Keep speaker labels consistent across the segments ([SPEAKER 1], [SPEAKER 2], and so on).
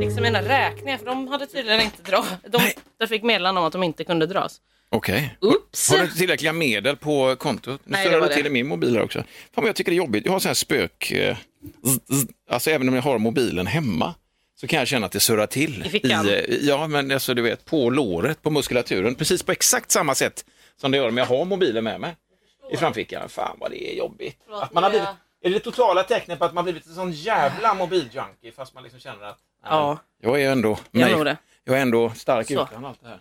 [SPEAKER 1] liksom mina räkningar för de hade tydligen inte dra. De, de fick meddelande om att de inte kunde dras.
[SPEAKER 2] Okej.
[SPEAKER 1] Oops.
[SPEAKER 2] Har du inte tillräckliga medel på kontot? Nu
[SPEAKER 1] Nej,
[SPEAKER 2] snurrar
[SPEAKER 1] det
[SPEAKER 2] du
[SPEAKER 1] var
[SPEAKER 2] till
[SPEAKER 1] det.
[SPEAKER 2] i min mobil här också. Fan, men jag tycker det är jobbigt. Jag har sån här spök... Eh, zzz, zzz. alltså även om jag har mobilen hemma så kan jag känna att det surrar till.
[SPEAKER 1] I fickan?
[SPEAKER 2] eh, ja, men alltså du vet på låret, på muskulaturen. Precis på exakt samma sätt som det gör om jag har mobilen med mig i framfickan. Fan vad det är jobbigt.
[SPEAKER 1] Förlåt,
[SPEAKER 2] Att man har
[SPEAKER 1] men
[SPEAKER 2] blivit, är det det totala tecknet på att man blivit en sån jävla mobiljunkie fast man liksom känner att... nej,
[SPEAKER 1] Ja,
[SPEAKER 2] men Jag är ändå...
[SPEAKER 1] jag
[SPEAKER 2] nej,
[SPEAKER 1] tror det.
[SPEAKER 2] jag är ändå stark
[SPEAKER 1] Så.
[SPEAKER 2] utan allt det här.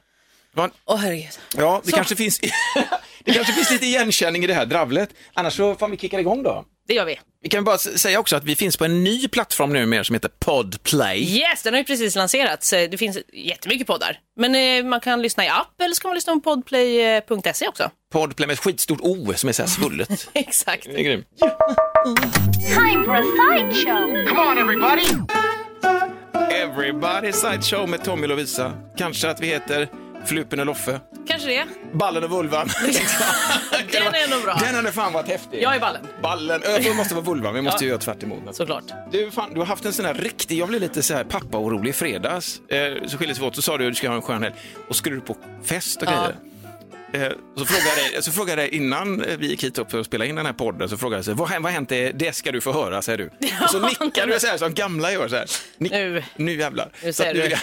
[SPEAKER 2] Man,
[SPEAKER 1] Åh herregud.
[SPEAKER 2] Ja, det kanske, finns, det kanske finns lite igenkänning i det här dravlet. Annars så får vi kicka igång då.
[SPEAKER 1] Det gör vi.
[SPEAKER 2] Vi kan bara s- säga också att vi finns på en ny plattform nu mer som heter Podplay.
[SPEAKER 1] Yes, den har ju precis lanserats. Det finns jättemycket poddar. Men eh, man kan lyssna i app eller så kan man lyssna på eh, podplay.se E också.
[SPEAKER 2] Podplay med ett skitstort O som är så här svullet.
[SPEAKER 1] Exakt.
[SPEAKER 2] Det är grymt.
[SPEAKER 3] Time for a sideshow.
[SPEAKER 2] Everybody Side Show med Tommy Lovisa. Kanske att vi heter Flupen och Loffe.
[SPEAKER 1] Kanske det.
[SPEAKER 2] Ballen och vulvan.
[SPEAKER 1] Den är ändå bra.
[SPEAKER 2] Den hade fan varit häftig.
[SPEAKER 1] Jag är ballen.
[SPEAKER 2] Ballen, ö, det måste vara vulvan, vi måste
[SPEAKER 1] Ja.
[SPEAKER 2] ju göra tvärt emot.
[SPEAKER 1] Såklart.
[SPEAKER 2] Du, fan, du har haft en sån här riktig, jag blev lite så här pappa-orolig i fredags. Eh, så skildes vi åt, så sa du att du ska ha en skön helg. Och skulle du på fest och
[SPEAKER 1] Ja.
[SPEAKER 2] grejer. Eh, så frågade jag dig, så frågade jag dig innan eh, vi gick hit upp för att spela in den här podden, så frågade jag så här, vad har vad har hänt, det, det ska du få höra, säger du. Och så nickar du så här som gamla gör så här. Nick,
[SPEAKER 1] Nu.
[SPEAKER 2] nu jävlar.
[SPEAKER 1] Nu
[SPEAKER 2] Så att
[SPEAKER 1] säger
[SPEAKER 2] nu
[SPEAKER 1] du.
[SPEAKER 2] vill jag-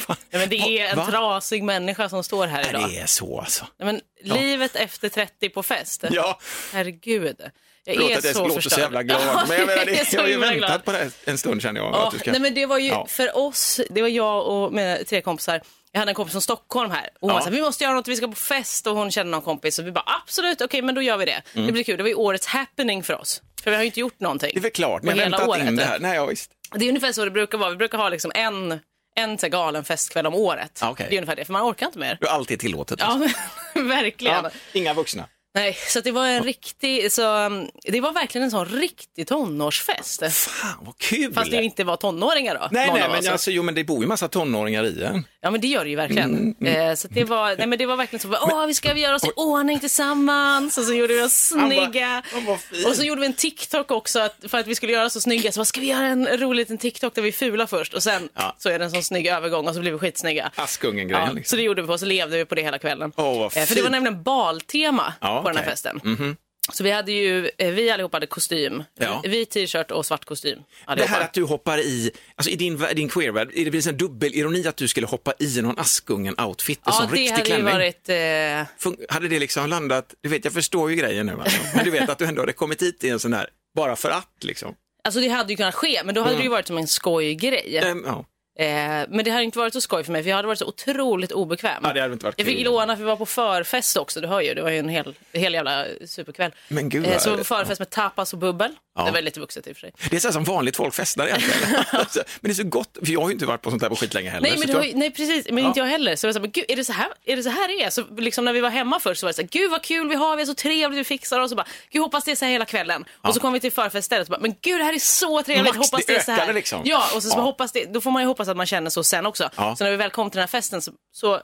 [SPEAKER 2] Fan.
[SPEAKER 1] Nej, men det är en
[SPEAKER 2] Va?
[SPEAKER 1] trasig människa som står här idag.
[SPEAKER 2] Det är så alltså.
[SPEAKER 1] Nej, men Livet efter 30 på fest.
[SPEAKER 2] Ja,
[SPEAKER 1] Herregud. Jag
[SPEAKER 2] förlåt
[SPEAKER 1] är
[SPEAKER 2] att jag
[SPEAKER 1] så
[SPEAKER 2] låter
[SPEAKER 1] förstörd.
[SPEAKER 2] så jävla glad.
[SPEAKER 1] Ja,
[SPEAKER 2] men jag menar,
[SPEAKER 1] är
[SPEAKER 2] det,
[SPEAKER 1] så
[SPEAKER 2] jag har ju
[SPEAKER 1] himla glad.
[SPEAKER 2] väntat på det här en stund känner jag.
[SPEAKER 1] Ja,
[SPEAKER 2] att du ska...
[SPEAKER 1] nej, men det var ju
[SPEAKER 2] Ja.
[SPEAKER 1] för oss, det var jag och mina tre kompisar. Jag hade en kompis från Stockholm här och hon
[SPEAKER 2] Ja.
[SPEAKER 1] var så här, vi måste göra något, vi ska på fest och hon känner någon kompis och vi bara absolut, okej men då gör vi det. Det blir kul, det var ju årets happening för oss. För vi har ju inte gjort någonting.
[SPEAKER 2] Mm. Det är väl klart, ni
[SPEAKER 1] på
[SPEAKER 2] har
[SPEAKER 1] hela
[SPEAKER 2] väntat in
[SPEAKER 1] året,
[SPEAKER 2] det
[SPEAKER 1] typ.
[SPEAKER 2] här. Nej, ja, visst.
[SPEAKER 1] Det är ungefär så det brukar vara, vi brukar ha liksom en, en så här galen festkväll om året.
[SPEAKER 2] Ja, okej.
[SPEAKER 1] Det är ungefär det, för man orkar inte mer.
[SPEAKER 2] Du har alltid tillåtet.
[SPEAKER 1] Ja,
[SPEAKER 2] alltså.
[SPEAKER 1] men, verkligen.
[SPEAKER 2] Ja, inga vuxna.
[SPEAKER 1] Nej, så att det var en riktig, så, um, det var verkligen en sån riktig tonårsfest.
[SPEAKER 2] Fan vad kul!
[SPEAKER 1] Fast det inte var tonåringar då.
[SPEAKER 2] Nej,
[SPEAKER 1] någon
[SPEAKER 2] nej,
[SPEAKER 1] av oss.
[SPEAKER 2] men alltså, jo, men det bor ju massa tonåringar i en.
[SPEAKER 1] Ja men det gör det ju verkligen.
[SPEAKER 2] Mm,
[SPEAKER 1] Eh, så att det, var, nej, men det var verkligen så, åh vi ska göra oss i ordning tillsammans och så gjorde vi oss
[SPEAKER 2] Han bara,
[SPEAKER 1] snygga.
[SPEAKER 2] "Åh, vad fint."
[SPEAKER 1] Och så gjorde vi en TikTok också att, för att vi skulle göra oss så snygga. Så bara, ska vi göra en rolig liten TikTok där vi är fula först och sen
[SPEAKER 2] Ja.
[SPEAKER 1] så är det en sån snygg övergång och så blir vi skitsnygga.
[SPEAKER 2] Askungen-grejen.
[SPEAKER 1] Ja, så
[SPEAKER 2] liksom.
[SPEAKER 1] det gjorde vi på, så levde vi på det hela kvällen.
[SPEAKER 2] Åh, vad
[SPEAKER 1] Eh, för det var
[SPEAKER 2] fint.
[SPEAKER 1] nämligen baltema
[SPEAKER 2] Ja,
[SPEAKER 1] på den här
[SPEAKER 2] okej. Mhm.
[SPEAKER 1] festen. Så vi hade ju, eh, vi allihopa hade kostym.
[SPEAKER 2] Ja.
[SPEAKER 1] Vit t-shirt och svart kostym.
[SPEAKER 2] det
[SPEAKER 1] allihopa.
[SPEAKER 2] här att du hoppar i, alltså i din, vär- din queervärld, är det precis en dubbelironi att du skulle hoppa i någon Askungen-outfit och
[SPEAKER 1] ja,
[SPEAKER 2] sån
[SPEAKER 1] det
[SPEAKER 2] riktig
[SPEAKER 1] hade ju
[SPEAKER 2] klänning?
[SPEAKER 1] varit... Eh,
[SPEAKER 2] Fun- hade det liksom landat, du vet jag förstår ju grejen nu, alltså. men du vet att du ändå hade kommit hit i en sån här, bara för att liksom.
[SPEAKER 1] Alltså det hade ju kunnat ske, men då hade det ju varit som en skojgrej.
[SPEAKER 2] Ehm, Mm. ja.
[SPEAKER 1] Eh, men det hade inte varit så skoj för mig, för jag hade varit så otroligt obekväm.
[SPEAKER 2] Ja, det hade inte varit
[SPEAKER 1] jag fick
[SPEAKER 2] kul.
[SPEAKER 1] låna, för vi var på förfest också, du hör ju, det var ju en hel, hel jävla superkväll.
[SPEAKER 2] Men gud,
[SPEAKER 1] eh, så
[SPEAKER 2] vad-
[SPEAKER 1] var på förfest med tapas och bubbel.
[SPEAKER 2] Ja.
[SPEAKER 1] Det var lite vuxet i och för sig.
[SPEAKER 2] Det är så här som vanligt folk festar egentligen. alltså, men det är så gott, för jag har ju inte varit på sånt där på skitlänge heller.
[SPEAKER 1] Nej, men
[SPEAKER 2] så
[SPEAKER 1] det
[SPEAKER 2] jag-
[SPEAKER 1] var, ju- nej precis, men inte jag heller. Så jag var så här, men gud, är det så här är det? Så här det är? Så liksom när vi var hemma först så var det så här, gud vad kul vi har, vi är så trevligt, vi fixar oss och bara, gud hoppas det är så här hela kvällen. Och så kom vi till förfeststället och bara, men gud det här är så trevligt,
[SPEAKER 2] Max,
[SPEAKER 1] hoppas
[SPEAKER 2] det
[SPEAKER 1] det, är så här.
[SPEAKER 2] ökade liksom.
[SPEAKER 1] Ja, och så, så
[SPEAKER 2] Ja.
[SPEAKER 1] hoppas det, då får man ju hoppas att man känner så sen också.
[SPEAKER 2] Ja.
[SPEAKER 1] Så när vi väl kom till den här festen så, så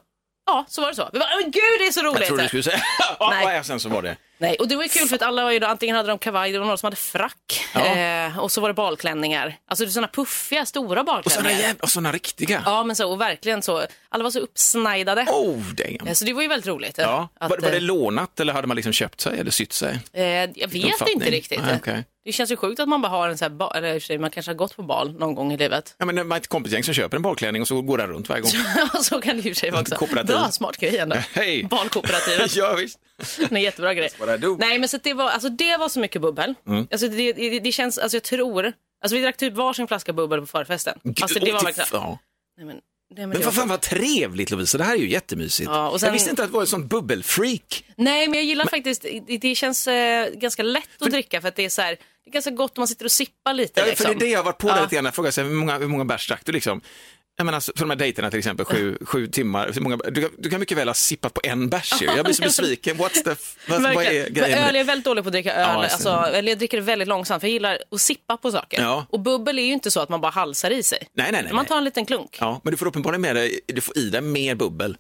[SPEAKER 1] ja, så var det så. Vi bara, men gud det är så roligt.
[SPEAKER 2] jag trodde du skulle säga, ja,
[SPEAKER 1] Nej.
[SPEAKER 2] och sen så var det.
[SPEAKER 1] Nej, och det var ju kul för att alla var ju då, antingen hade de kavaj, det var någon som hade frack
[SPEAKER 2] Ja.
[SPEAKER 1] eh, och så var det balklänningar. Alltså det är sådana puffiga, stora
[SPEAKER 2] Och såna,
[SPEAKER 1] balklänningar.
[SPEAKER 2] jäv... och såna riktiga.
[SPEAKER 1] Ja, men så, och verkligen så. Alla var så uppsnajdade.
[SPEAKER 2] Oh, damn.
[SPEAKER 1] Eh, Så det var ju väldigt roligt. eh,
[SPEAKER 2] Ja.
[SPEAKER 1] att,
[SPEAKER 2] var, var det
[SPEAKER 1] eh,
[SPEAKER 2] lånat eller hade man liksom köpt sig eller sytt sig?
[SPEAKER 1] eh, jag vet
[SPEAKER 2] uppfattning?
[SPEAKER 1] inte riktigt.
[SPEAKER 2] Nej, okej.
[SPEAKER 1] Det känns ju sjukt att man bara har en så här, ba- eller i och för sig, man kanske har gått på bal någon gång i livet.
[SPEAKER 2] Ja, men det var ett kompisgäng som köper en balklänning och så går den runt varje gång.
[SPEAKER 1] så kan det ju i och för sig vara också.
[SPEAKER 2] Kooperativ.
[SPEAKER 1] Bra, smart grej ändå.
[SPEAKER 2] Hej!
[SPEAKER 1] Balkooperativet.
[SPEAKER 2] ja, visst.
[SPEAKER 1] Det är en jättebra grej.
[SPEAKER 2] what I do. Mm.
[SPEAKER 1] Nej, men så att det, var, alltså, det var så mycket bubbel. Alltså, det, det, det känns, alltså jag tror, alltså vi drack typ varsin flaska bubbel på förfesten. Alltså, det
[SPEAKER 2] Åh,
[SPEAKER 1] var
[SPEAKER 2] till-
[SPEAKER 1] verkligen,
[SPEAKER 2] ja.
[SPEAKER 1] nej men, nej, men,
[SPEAKER 2] Men
[SPEAKER 1] det
[SPEAKER 2] vad
[SPEAKER 1] var-
[SPEAKER 2] fan vad trevligt Lovisa, det här är ju jättemysigt.
[SPEAKER 1] Ja, och
[SPEAKER 2] Jag
[SPEAKER 1] sen-
[SPEAKER 2] visste inte att det var ett sånt bubbelfreak.
[SPEAKER 1] Nej, men jag gillar faktiskt, det, det känns eh, ganska lätt att dricka för att det är så här, det är ganska gott om man sitter och sippar lite.
[SPEAKER 2] Ja,
[SPEAKER 1] liksom.
[SPEAKER 2] För det är det jag har varit på där
[SPEAKER 1] Ja.
[SPEAKER 2] lite grann, jag frågar sig hur många, hur många bärs drack du liksom? Jag menar, så- för de här dejterna till exempel, sju, sju timmar, hur många, du, kan- du kan mycket väl ha sippat på en bärs ju. Jag blir så besviken, what's the, f- vad, vad är
[SPEAKER 1] Verkligen. Men
[SPEAKER 2] grejen? med
[SPEAKER 1] öl,
[SPEAKER 2] det?
[SPEAKER 1] jag är väldigt dålig på att dricka
[SPEAKER 2] Ja,
[SPEAKER 1] öl.
[SPEAKER 2] jag ser
[SPEAKER 1] alltså, eller jag dricker det väldigt långsamt för jag gillar att sippa på saker.
[SPEAKER 2] Ja.
[SPEAKER 1] Och bubbel är ju inte så att man bara halsar i sig.
[SPEAKER 2] Nej, nej, nej.
[SPEAKER 1] man
[SPEAKER 2] nej.
[SPEAKER 1] tar en liten klunk.
[SPEAKER 2] Ja, men du får uppenbarligen med dig, du får i dig mer bubbel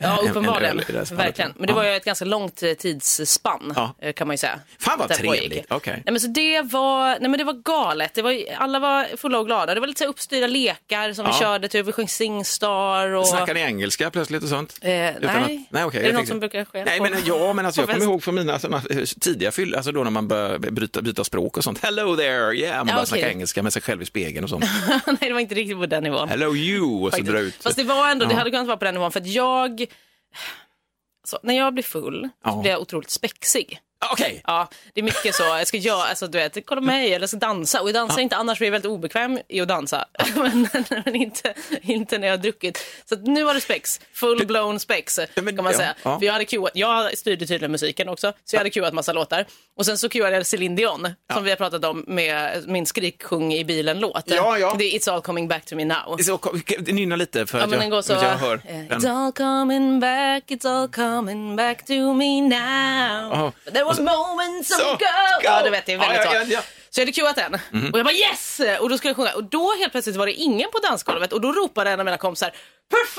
[SPEAKER 1] Ja,
[SPEAKER 2] en- en
[SPEAKER 1] uppenbarligen.
[SPEAKER 2] öl i det här fallet.
[SPEAKER 1] Verkligen. Men det
[SPEAKER 2] Ja.
[SPEAKER 1] var ju ett ganska långt eh, tidsspann
[SPEAKER 2] Ja.
[SPEAKER 1] eh, kan man ju säga.
[SPEAKER 2] Fan, vad
[SPEAKER 1] Där pågick.
[SPEAKER 2] trevligt. Okej.
[SPEAKER 1] Nej, men så det var, nej men det var galet. Det var, ju- alla var fulla och glada. Det var lite så här uppstyrda lekar som
[SPEAKER 2] Ja.
[SPEAKER 1] vi körde, typ vi sjöng Singstar och...
[SPEAKER 2] Snackar ni engelska plötsligt och sånt?
[SPEAKER 1] Eh,
[SPEAKER 2] Utan
[SPEAKER 1] nej.
[SPEAKER 2] att- nej okej,
[SPEAKER 1] Är det
[SPEAKER 2] jag
[SPEAKER 1] något
[SPEAKER 2] tänkte-
[SPEAKER 1] som brukar ske
[SPEAKER 2] Nej,
[SPEAKER 1] på-
[SPEAKER 2] men ja, men
[SPEAKER 1] på
[SPEAKER 2] alltså, jag kommer
[SPEAKER 1] fest?
[SPEAKER 2] ihåg från mina såna, eh, tidiga fyll, alltså då när man börjar byta, byta språk och sånt. Hello there, yeah, man
[SPEAKER 1] Ja,
[SPEAKER 2] börjar
[SPEAKER 1] okej.
[SPEAKER 2] snacka engelska med sig själv i spegeln och sånt.
[SPEAKER 1] nej, det var inte riktigt på den nivån.
[SPEAKER 2] Hello you, och så
[SPEAKER 1] faktiskt.
[SPEAKER 2] drar ut.
[SPEAKER 1] Fast det var ändå, det
[SPEAKER 2] Ja.
[SPEAKER 1] hade kunnat vara på den nivån för att jag... Så, när jag blir full
[SPEAKER 2] Ja.
[SPEAKER 1] så blir jag otroligt spexig.
[SPEAKER 2] Ah, Okej,
[SPEAKER 1] Ja, det är mycket så. Jag ska göra, alltså, du vet, kolla mig eller jag ska dansa. Och jag dansar inte annars blir jag väldigt obekväm i att dansa. men men inte, inte när jag har druckit. Så att nu har du spex. Full-blown spex
[SPEAKER 2] Ja, men-
[SPEAKER 1] kan man
[SPEAKER 2] ja,
[SPEAKER 1] säga.
[SPEAKER 2] ja.
[SPEAKER 1] För jag, hade cuat, jag styrde tydligen musiken också, så jag hade cuat massa låtar. Och sen så cuade jag Céline Dion, som vi har pratat om med min skriksjung i bilen-låt.
[SPEAKER 2] Ja, ja.
[SPEAKER 1] Det är It's all coming back to me now.
[SPEAKER 2] så kom- k- nynna lite för
[SPEAKER 1] Ja,
[SPEAKER 2] att
[SPEAKER 1] men
[SPEAKER 2] jag,
[SPEAKER 1] den går så.
[SPEAKER 2] att jag hör
[SPEAKER 1] eh,
[SPEAKER 2] den.
[SPEAKER 1] It's all coming back, it's all coming back to me now.
[SPEAKER 2] Ja.
[SPEAKER 1] But there was
[SPEAKER 2] Och så-
[SPEAKER 1] moments of
[SPEAKER 2] Så,
[SPEAKER 1] gold.
[SPEAKER 2] go!
[SPEAKER 1] Ja, du vet, det är väldigt
[SPEAKER 2] Ja, ja,
[SPEAKER 1] så.
[SPEAKER 2] ja, ja. Mhm.
[SPEAKER 1] Så jag hade cuat den och jag bara yes! Och då skulle jag sjunga och då helt plötsligt var det ingen på dansgolvet och då ropade en av mina kompisar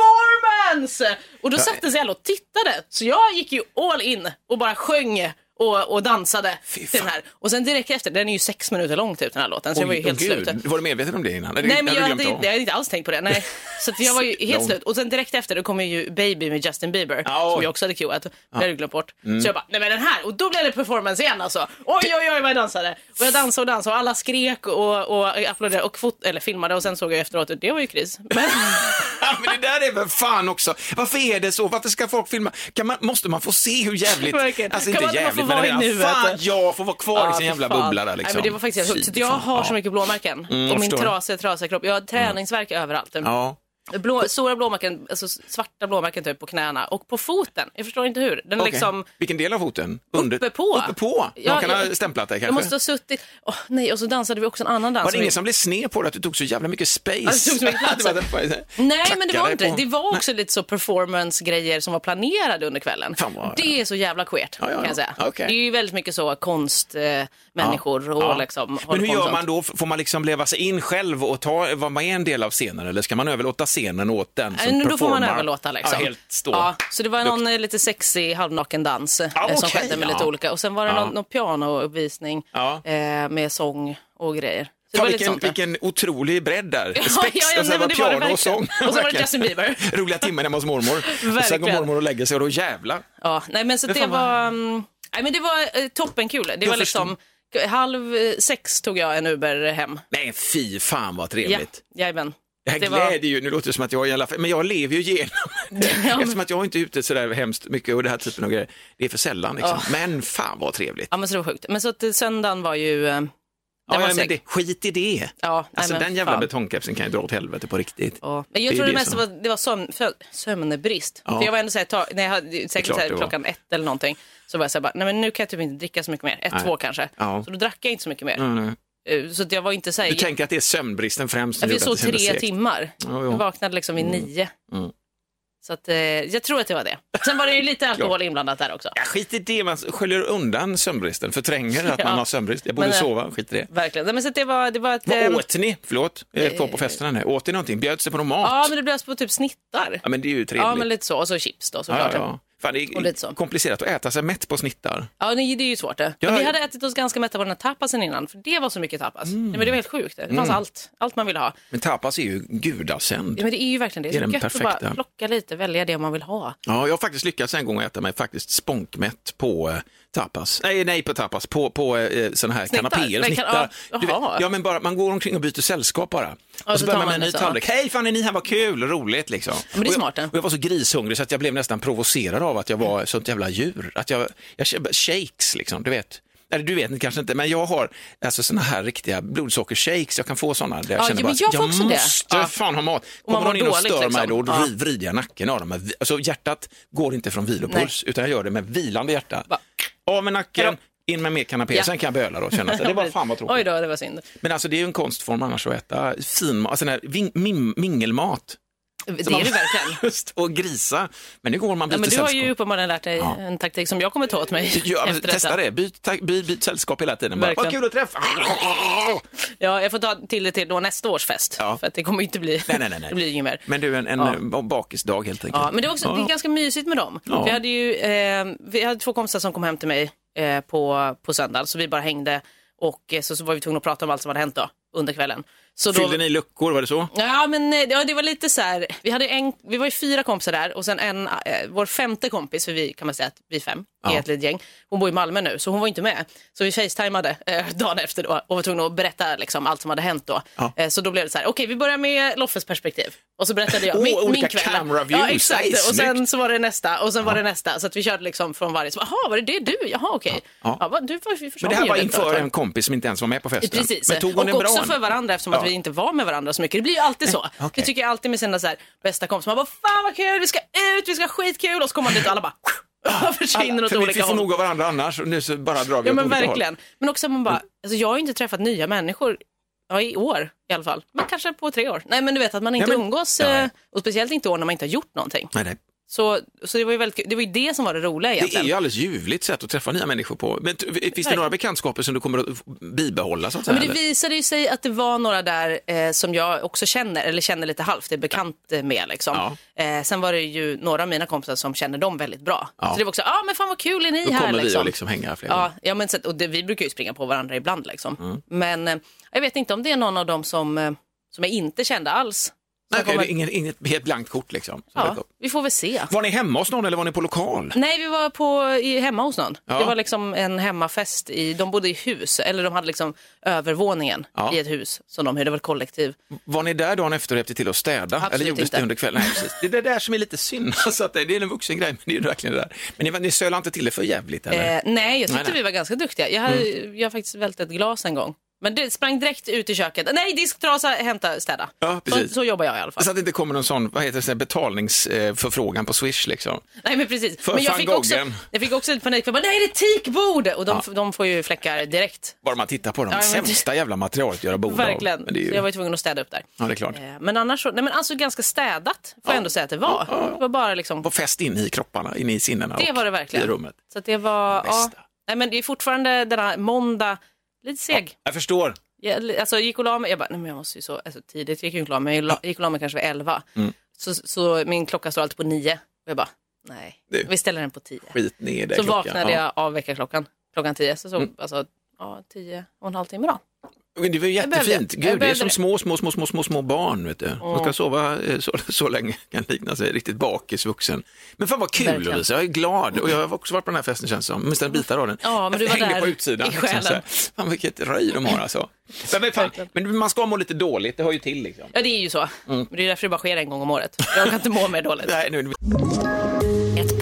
[SPEAKER 1] performance! Och då satte sig alla och tittade så jag gick ju all in och bara sjöng och, och dansade till den här. Och sen direkt efter, den är ju sex minuter lång typ den här låten så jag var ju
[SPEAKER 2] Oj, åh,
[SPEAKER 1] helt slut.
[SPEAKER 2] gud. Var du medveten om det innan? Eller
[SPEAKER 1] Nej, men jag
[SPEAKER 2] du
[SPEAKER 1] hade,
[SPEAKER 2] glömt
[SPEAKER 1] inte,
[SPEAKER 2] om?
[SPEAKER 1] jag hade inte alls tänkt på det. Nej. Så att jag var ju helt
[SPEAKER 2] Lång.
[SPEAKER 1] slut. Och sen direkt efter då kom ju Baby med Justin Bieber,
[SPEAKER 2] Ja,
[SPEAKER 1] som
[SPEAKER 2] oj. Mm.
[SPEAKER 1] jag också hade cuat. Det hade jag glömt bort. Så jag bara, nej men den här. Och då blev det performance igen alltså. Oj, oj, oj vad jag dansade. Och jag dansade och dansade och alla skrek och, och applåderade och fot- eller filmade och sen såg jag efteråt att det var ju kris. Men,
[SPEAKER 2] Ja, men det där är väl fan också. Varför är det så? Varför ska folk filma? Kan man, måste man få se hur jävligt...
[SPEAKER 1] Verkligen.
[SPEAKER 2] Alltså
[SPEAKER 1] Kan
[SPEAKER 2] inte
[SPEAKER 1] man inte bara få
[SPEAKER 2] jävligt, men
[SPEAKER 1] vara i
[SPEAKER 2] jag
[SPEAKER 1] nuet?
[SPEAKER 2] menar, fan jag får vara kvar i
[SPEAKER 1] Ja,
[SPEAKER 2] sin
[SPEAKER 1] fy
[SPEAKER 2] jävla
[SPEAKER 1] fan.
[SPEAKER 2] bubbla där
[SPEAKER 1] Nej,
[SPEAKER 2] liksom.
[SPEAKER 1] men det var faktiskt helt sjukt. Så att jag
[SPEAKER 2] Fy fan,
[SPEAKER 1] har så
[SPEAKER 2] ja.
[SPEAKER 1] mycket blåmärken.
[SPEAKER 2] jag
[SPEAKER 1] och min
[SPEAKER 2] förstår. Mm.
[SPEAKER 1] trasiga, trasiga kropp. Jag har träningsvärk överallt.
[SPEAKER 2] Ja.
[SPEAKER 1] Blå, stora blåmärken, alltså svarta blåmärken typ på knäna och på foten. Jag förstår inte hur. Den är
[SPEAKER 2] Okej.
[SPEAKER 1] liksom
[SPEAKER 2] Vilken del av foten? Under...
[SPEAKER 1] Uppe på.
[SPEAKER 2] Uppe på? Någon
[SPEAKER 1] Ja,
[SPEAKER 2] kan
[SPEAKER 1] jag-
[SPEAKER 2] ha stämplat dig
[SPEAKER 1] Jag
[SPEAKER 2] kanske?
[SPEAKER 1] måste ha suttit... Åh, nej, och så dansade vi också en annan dans.
[SPEAKER 2] Var det
[SPEAKER 1] som
[SPEAKER 2] ingen
[SPEAKER 1] vi-
[SPEAKER 2] som blev sned på dig att du tog så jävla mycket space?
[SPEAKER 1] Ja, det Alltså, tog så mycket plats.
[SPEAKER 2] Det var därför jag-
[SPEAKER 1] Nej, men det
[SPEAKER 2] klackade
[SPEAKER 1] var inte det.
[SPEAKER 2] på-
[SPEAKER 1] Det var också lite så performance-grejer som var planerade under kvällen.
[SPEAKER 2] Fan vad-
[SPEAKER 1] Det är så jävla queert,
[SPEAKER 2] Ja, ja,
[SPEAKER 1] kan jag
[SPEAKER 2] ja.
[SPEAKER 1] säga.
[SPEAKER 2] Okej.
[SPEAKER 1] Det är ju väldigt mycket så konstmänniskor eh, människor och
[SPEAKER 2] Ja.
[SPEAKER 1] liksom... håller
[SPEAKER 2] Men hur
[SPEAKER 1] på med
[SPEAKER 2] gör
[SPEAKER 1] sånt.
[SPEAKER 2] man då? Får man liksom leva sig in själv och ta, vara med en del av scenen eller ska man överlåta scenen åt
[SPEAKER 1] Nej,
[SPEAKER 2] den som performar?
[SPEAKER 1] Eh, Då får man överlåta liksom.
[SPEAKER 2] Ja, helt stå.
[SPEAKER 1] Ja, så det var någon eh, lite sexig halvnaken dans eh,
[SPEAKER 2] Ja,
[SPEAKER 1] som
[SPEAKER 2] okej,
[SPEAKER 1] skedde med
[SPEAKER 2] ja.
[SPEAKER 1] lite olika. Och sen var det
[SPEAKER 2] Ja.
[SPEAKER 1] någon, någon pianouppvisning
[SPEAKER 2] Ja.
[SPEAKER 1] eh, med sång och grejer. Så det
[SPEAKER 2] Fan,
[SPEAKER 1] var lite
[SPEAKER 2] vilken,
[SPEAKER 1] sånt där.
[SPEAKER 2] vilken otrolig bredd där.
[SPEAKER 1] Ja,
[SPEAKER 2] Spex
[SPEAKER 1] ja, ja,
[SPEAKER 2] och
[SPEAKER 1] nej,
[SPEAKER 2] sen var
[SPEAKER 1] men det var det
[SPEAKER 2] piano och sång.
[SPEAKER 1] verkligen. Och sen var det Justin Bieber.
[SPEAKER 2] Roliga timmen hemma hos mormor. Och sen går
[SPEAKER 1] Verkligen.
[SPEAKER 2] mormor och lägger sig och då jävlar.
[SPEAKER 1] Ja, nej men så det,
[SPEAKER 2] fan vad-
[SPEAKER 1] var... mm, Nej men det var eh, toppenkul. Det var liksom... Halv eh, sex tog jag en Uber hem.
[SPEAKER 2] Nej, fy fan vad
[SPEAKER 1] Ja,
[SPEAKER 2] trevligt.
[SPEAKER 1] jajamän.
[SPEAKER 2] Det här
[SPEAKER 1] Det var-
[SPEAKER 2] gläder ju, nu låter det som att jag i alla fall, men jag lever ju igenom
[SPEAKER 1] men-
[SPEAKER 2] Eftersom att jag inte är ute sådär hemskt mycket och det här typen av grejer. Det är för sällan liksom.
[SPEAKER 1] Ja.
[SPEAKER 2] Men fan vad trevligt.
[SPEAKER 1] Ja men så det var sjukt. Men så att eh, söndagen var ju... eh, Den
[SPEAKER 2] Ja,
[SPEAKER 1] var
[SPEAKER 2] ja, men
[SPEAKER 1] seg.
[SPEAKER 2] det, skit i det.
[SPEAKER 1] Ja, nej,
[SPEAKER 2] Alltså
[SPEAKER 1] men
[SPEAKER 2] den jävla
[SPEAKER 1] fan.
[SPEAKER 2] betongkepsen kan ju dra åt helvete på riktigt.
[SPEAKER 1] Ja. Men
[SPEAKER 2] Det är
[SPEAKER 1] jag tror det
[SPEAKER 2] ju det
[SPEAKER 1] mest
[SPEAKER 2] som-
[SPEAKER 1] var, det var sömn, fö- sömnbrist.
[SPEAKER 2] Ja.
[SPEAKER 1] För jag var ändå så här, ett tag- när jag hade, säkert
[SPEAKER 2] klart
[SPEAKER 1] så här,
[SPEAKER 2] det var.
[SPEAKER 1] klockan ett eller någonting, så var jag så här bara, nej men nu kan jag typ inte dricka så mycket mer. Ett,
[SPEAKER 2] Nej.
[SPEAKER 1] två kanske.
[SPEAKER 2] Ja.
[SPEAKER 1] Så då drack jag inte så mycket mer.
[SPEAKER 2] Mm, nej.
[SPEAKER 1] Eh, Så att jag var inte så här,
[SPEAKER 2] Du tänker att det är sömnbristen främst? som
[SPEAKER 1] Jag fick
[SPEAKER 2] gjorde
[SPEAKER 1] så
[SPEAKER 2] att det kändes
[SPEAKER 1] tre
[SPEAKER 2] segt.
[SPEAKER 1] timmar.
[SPEAKER 2] Ja, Mm. ja.
[SPEAKER 1] Jag vaknade liksom vid nio. Så att, eh, jag tror att det var det. Sen var det ju lite alkohol inblandat där också.
[SPEAKER 2] Ja, skit i det, man sköljer undan sömnbristen, förtränger att
[SPEAKER 1] Ja.
[SPEAKER 2] man har sömnbrist. Jag borde
[SPEAKER 1] Men, eh,
[SPEAKER 2] sova, skit i det.
[SPEAKER 1] Verkligen. Nej, men så att det var, det var ett...
[SPEAKER 2] Vad
[SPEAKER 1] ehm, eh,
[SPEAKER 2] åt ni? Förlåt, jag är kvar på festerna nu. Åt ni någonting? Bjöds det på någon mat?
[SPEAKER 1] ja, men det bjöds på typ snittar.
[SPEAKER 2] Ja, men det är ju trevligt.
[SPEAKER 1] Ja, men lite så. Och så chips då
[SPEAKER 2] ja,
[SPEAKER 1] såklart. Ja,
[SPEAKER 2] ja. Fan, det är
[SPEAKER 1] Och lite så.
[SPEAKER 2] komplicerat att äta sig mätt på snittar.
[SPEAKER 1] nej, det är ju svårt det.
[SPEAKER 2] Ja,
[SPEAKER 1] men vi
[SPEAKER 2] ja.
[SPEAKER 1] hade ätit oss ganska mätta på den här tapasen innan, för det var så mycket tapas.
[SPEAKER 2] Mm.
[SPEAKER 1] Nej, men det var helt sjukt. Det fanns allt, allt man ville ha.
[SPEAKER 2] Men tapas är ju gudasänd.
[SPEAKER 1] Ja, men det är ju verkligen det.
[SPEAKER 2] Det är
[SPEAKER 1] Det är
[SPEAKER 2] den
[SPEAKER 1] så gött att
[SPEAKER 2] perfekta.
[SPEAKER 1] bara plocka lite, välja det man vill ha.
[SPEAKER 2] Ja, jag har faktiskt lyckats en gång äta mig faktiskt spånkmätt på eh, tapas. Nej, nej på tapas, på, på eh, såna här
[SPEAKER 1] Snittar?
[SPEAKER 2] kanapéer och
[SPEAKER 1] Nej, kan-
[SPEAKER 2] snittar.
[SPEAKER 1] ja,
[SPEAKER 2] Du
[SPEAKER 1] jaha.
[SPEAKER 2] ja, men bara, man går omkring och byter sällskap bara. och så
[SPEAKER 1] så
[SPEAKER 2] börjar
[SPEAKER 1] tar
[SPEAKER 2] man med
[SPEAKER 1] man
[SPEAKER 2] en ny
[SPEAKER 1] det så.
[SPEAKER 2] tallrik. Hej, fan är ni här, vad kul, roligt liksom.
[SPEAKER 1] men det är
[SPEAKER 2] Och
[SPEAKER 1] smart, det.
[SPEAKER 2] Jag, och jag var så grishungrig så att jag blev nästan provocerad av att jag var ett sånt jävla djur. Att jag, jag kände- shakes liksom, du vet. Eller du vet kanske inte, men jag har alltså såna här riktiga blodsockershakes. Jag kan få såna där jag
[SPEAKER 1] Ja,
[SPEAKER 2] känner
[SPEAKER 1] ja,
[SPEAKER 2] bara,
[SPEAKER 1] men jag får också det.
[SPEAKER 2] måste
[SPEAKER 1] Ja.
[SPEAKER 2] fan ha mat.
[SPEAKER 1] Och man
[SPEAKER 2] Kommer någon
[SPEAKER 1] mår
[SPEAKER 2] in och
[SPEAKER 1] dåligt,
[SPEAKER 2] stör mig
[SPEAKER 1] liksom.
[SPEAKER 2] då, då
[SPEAKER 1] Ja.
[SPEAKER 2] vrider jag nacken av dem. Alltså, hjärtat går inte från vilopuls, utan jag gör det med vilande hjärta.
[SPEAKER 1] Va?
[SPEAKER 2] Av med nacken,
[SPEAKER 1] Hejdå.
[SPEAKER 2] in med mer kanapé,
[SPEAKER 1] Ja.
[SPEAKER 2] sen kan jag böla då och känna sig. Det var fan vad
[SPEAKER 1] Oj
[SPEAKER 2] tråkigt.
[SPEAKER 1] då, det var synd.
[SPEAKER 2] Men alltså det är ju en konstform annars att äta fin, alltså den här ving, mim, mingelmat.
[SPEAKER 1] Det är det verkligen.
[SPEAKER 2] och grisa. Men det går man
[SPEAKER 1] Ja,
[SPEAKER 2] byter
[SPEAKER 1] men du har ju
[SPEAKER 2] sällskap.
[SPEAKER 1] uppenbarligen lärt dig en taktik som jag kommer ta åt mig
[SPEAKER 2] Ja, men
[SPEAKER 1] efter
[SPEAKER 2] testa
[SPEAKER 1] detta.
[SPEAKER 2] det, byt, ta- by, byt sällskap hela tiden. Bara, vad
[SPEAKER 1] Verkligen.
[SPEAKER 2] kul att träffa!
[SPEAKER 1] Ja, jag får ta till det till då nästa års fest.
[SPEAKER 2] Ja.
[SPEAKER 1] För att det kommer ju inte bli...
[SPEAKER 2] Nej, nej, nej. nej.
[SPEAKER 1] Det blir ju inget mer.
[SPEAKER 2] Men du, en, en eh, bakisdag helt enkelt.
[SPEAKER 1] Ja, men det är också det är ganska mysigt med dem.
[SPEAKER 2] Ja.
[SPEAKER 1] Vi, hade ju, eh, vi hade två kompisar som kom hem till mig eh, på, på söndagen, så vi bara hängde och eh, så, så var vi tvungna att prata om allt som hade hänt då, under kvällen. Så då,
[SPEAKER 2] Fyllde ni luckor, var det så?
[SPEAKER 1] Ja, men eh, ja, det var lite så här, vi, hade en, vi var ju fyra kompisar där och sen en, eh, vår femte kompis, för vi kan man säga att vi fem
[SPEAKER 2] Ja.
[SPEAKER 1] är ett litet gäng, hon bor i Malmö nu så hon var inte med. Så vi facetimade eh, dagen efter då och var tvungna att berätta liksom, allt som hade hänt då.
[SPEAKER 2] Ja.
[SPEAKER 1] Eh, så då blev det så här, okej vi börjar med Loffes perspektiv. Och så berättade jag
[SPEAKER 2] Åh,
[SPEAKER 1] min, min
[SPEAKER 2] Oh, olika
[SPEAKER 1] kväll.
[SPEAKER 2] camera views.
[SPEAKER 1] ja,
[SPEAKER 2] Aj,
[SPEAKER 1] exakt. Och sen
[SPEAKER 2] snyggt.
[SPEAKER 1] så var det nästa och sen var det nästa. Så att vi körde liksom från varje, så, jaha var det det du, jaha okej.
[SPEAKER 2] Ja.
[SPEAKER 1] Ja. vad- du, var- vi
[SPEAKER 2] Men
[SPEAKER 1] försvann
[SPEAKER 2] det här
[SPEAKER 1] ju
[SPEAKER 2] var
[SPEAKER 1] ett
[SPEAKER 2] inför
[SPEAKER 1] tag.
[SPEAKER 2] en kompis som inte ens var med på festen.
[SPEAKER 1] Precis,
[SPEAKER 2] Men tog hon
[SPEAKER 1] och
[SPEAKER 2] en bra
[SPEAKER 1] också
[SPEAKER 2] en?
[SPEAKER 1] för varandra eftersom att
[SPEAKER 2] Ja. Eh,
[SPEAKER 1] vi inte var med varandra så mycket. Det blir ju alltid så.
[SPEAKER 2] okej.
[SPEAKER 1] Det tycker jag alltid med sina så här, bästa kompisar. Man bara, fan vad kul, vi ska ut, vi ska ha skitkul och så kommer man dit och alla bara försvinner åt
[SPEAKER 2] För vi- vi
[SPEAKER 1] olika
[SPEAKER 2] får
[SPEAKER 1] håll.
[SPEAKER 2] nog av varandra annars och nu så bara drar vi
[SPEAKER 1] Ja
[SPEAKER 2] åt
[SPEAKER 1] men
[SPEAKER 2] olika
[SPEAKER 1] verkligen. Men också man bara, alltså, jag har ju inte träffat nya människor ja, i år i alla fall. Men kanske på tre år. Nej men du vet att man inte
[SPEAKER 2] men-
[SPEAKER 1] umgås
[SPEAKER 2] Nej.
[SPEAKER 1] eh, och speciellt inte i år när man inte har gjort någonting.
[SPEAKER 2] håll. Nej, nej.
[SPEAKER 1] Så, så det var ju väldigt kul. Det var ju det som var det roliga
[SPEAKER 2] Det är
[SPEAKER 1] egentligen.
[SPEAKER 2] ju alldeles ljuvligt sätt att träffa nya människor på. Men t- finns det
[SPEAKER 1] Verkligen.
[SPEAKER 2] några bekantskaper som du kommer att bibehålla? Så att
[SPEAKER 1] Ja,
[SPEAKER 2] säga,
[SPEAKER 1] men det
[SPEAKER 2] eller?
[SPEAKER 1] visade ju sig att det var några där eh, som jag också känner, eller känner lite halvt, är bekant eh, med. Liksom. Eh, sen var det ju några av mina kompisar som känner dem väldigt bra.
[SPEAKER 2] Ja.
[SPEAKER 1] Så det var också, ja ah, men fan vad kul är ni
[SPEAKER 2] Då
[SPEAKER 1] här?
[SPEAKER 2] kommer vi
[SPEAKER 1] liksom.
[SPEAKER 2] att liksom hänga fler gånger.
[SPEAKER 1] Ja, ja, men, så att- och det, vi brukar ju springa på varandra ibland. Liksom.
[SPEAKER 2] Mm.
[SPEAKER 1] Men eh, jag vet inte om det är någon av dem som, eh, som jag inte kände alls.
[SPEAKER 2] Nej,
[SPEAKER 1] Som
[SPEAKER 2] okej,
[SPEAKER 1] kommer-
[SPEAKER 2] det är ingen, inget helt blankt kort liksom. som dök
[SPEAKER 1] ja, Mm.
[SPEAKER 2] upp.
[SPEAKER 1] vi får väl se.
[SPEAKER 2] Var ni hemma hos någon eller var ni på lokal?
[SPEAKER 1] Nej, vi var på, i, hemma hos någon.
[SPEAKER 2] Ja.
[SPEAKER 1] Det var liksom en hemmafest. I, de bodde i hus, eller de hade liksom övervåningen
[SPEAKER 2] Ja.
[SPEAKER 1] i ett hus som de hyrde, det var ett kollektiv.
[SPEAKER 2] Var ni där dagen efter och hjälpte till att städa? eller gjordes
[SPEAKER 1] inte.
[SPEAKER 2] det under kvällen? Nej, precis. Det är det där som är lite synd. Alltså att det, det är en vuxen grej, men det är ju verkligen det där. Men ni, ni sölar inte till det för jävligt eller?
[SPEAKER 1] Eh, nej, jag tyckte
[SPEAKER 2] Nej, Mm. nej.
[SPEAKER 1] vi var ganska duktiga. Jag har jag har faktiskt vält ett glas en gång. Men det sprang direkt ut i köket. Nej, disktrasa, hämta, städa.
[SPEAKER 2] Ja,
[SPEAKER 1] så,
[SPEAKER 2] precis.
[SPEAKER 1] så jobbar jag i alla fall.
[SPEAKER 2] Så att det inte kommer någon sån, vad heter det, betalningsförfrågan eh, på Swish liksom.
[SPEAKER 1] nej, men precis.
[SPEAKER 2] För
[SPEAKER 1] men jag
[SPEAKER 2] fan
[SPEAKER 1] fick, också,
[SPEAKER 2] gången.
[SPEAKER 1] jag fick också lite panik. För jag bara, nej, det är teakbord! Och de, de får ju fläckar direkt.
[SPEAKER 2] Bara man tittar på dem,
[SPEAKER 1] Ja, men-
[SPEAKER 2] sämsta jävla materialet att göra bord av.
[SPEAKER 1] Verkligen.
[SPEAKER 2] Men det är
[SPEAKER 1] Så
[SPEAKER 2] ju...
[SPEAKER 1] jag var ju tvungen att städa upp där.
[SPEAKER 2] Ja, det är klart.
[SPEAKER 1] Eh, Men annars så, nej men alltså ganska städat får jag ändå säga att det var. Det var bara liksom,
[SPEAKER 2] Var fäst in i kropparna, in i sinnena
[SPEAKER 1] det
[SPEAKER 2] och
[SPEAKER 1] var det verkligen.
[SPEAKER 2] i rummet.
[SPEAKER 1] Så att det var,
[SPEAKER 2] Det
[SPEAKER 1] ja.
[SPEAKER 2] bästa.
[SPEAKER 1] Nej men det är fortfarande denna måndag, lite seg.
[SPEAKER 2] Jag förstår.
[SPEAKER 1] Jag, alltså jag gick och la mig, jag bara, nej men jag måste ju så, alltså, tidigt gick jag inte och la mig, jag la, gick och la mig kanske vid elva.
[SPEAKER 2] Mm.
[SPEAKER 1] Så, så min klocka står alltid på nio. Och jag bara, nej,
[SPEAKER 2] Du.
[SPEAKER 1] vi ställer den på tio.
[SPEAKER 2] Skit ner det
[SPEAKER 1] Så
[SPEAKER 2] klockan.
[SPEAKER 1] vaknade
[SPEAKER 2] Ja. Mm.
[SPEAKER 1] jag av väckarklockan klockan tio, så såg alltså, ja, tio och en halv timme då.
[SPEAKER 2] Men det var ju
[SPEAKER 1] behövde
[SPEAKER 2] jättefint.
[SPEAKER 1] det. Jag
[SPEAKER 2] Gud, det är
[SPEAKER 1] behövde
[SPEAKER 2] som
[SPEAKER 1] det.
[SPEAKER 2] små, små, små, små, små, små barn. Vet du. De ska sova eh, så, så länge, kan likna sig riktigt bakis vuxen. Men fan vad kul
[SPEAKER 1] Verkligen.
[SPEAKER 2] Lovisa, jag är glad. Och jag har också varit på den här festen känns det som, minst en bitar av den.
[SPEAKER 1] Ja, men du
[SPEAKER 2] jag
[SPEAKER 1] var
[SPEAKER 2] hängde
[SPEAKER 1] där
[SPEAKER 2] på utsidan. liksom,
[SPEAKER 1] i själen.
[SPEAKER 2] så här. fan vilket röj de har alltså. Men, men, fan, men man ska må lite dåligt, det hör ju till liksom.
[SPEAKER 1] Ja det är ju så, men det är därför det bara sker en gång om året. Jag kan inte må mer dåligt.
[SPEAKER 2] Nej, nu,
[SPEAKER 4] Ett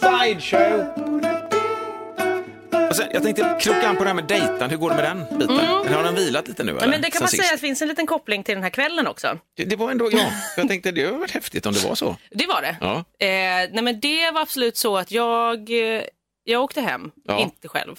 [SPEAKER 2] Sideshow! Och sen, Alltså, jag tänkte kroka an på det här med dejtan, hur går det med den biten? Eller Har den vilat lite nu? Eller?
[SPEAKER 1] Mm. Ja, men det kan
[SPEAKER 2] Sen
[SPEAKER 1] man
[SPEAKER 2] sist?
[SPEAKER 1] säga att det finns en liten koppling till den här kvällen också.
[SPEAKER 2] Det, det var ändå, ja, jag tänkte det hade varit häftigt om det var så.
[SPEAKER 1] Det var det.
[SPEAKER 2] Ja.
[SPEAKER 1] Eh, nej men det var absolut så att jag, eh, jag åkte hem,
[SPEAKER 2] Ja.
[SPEAKER 1] inte själv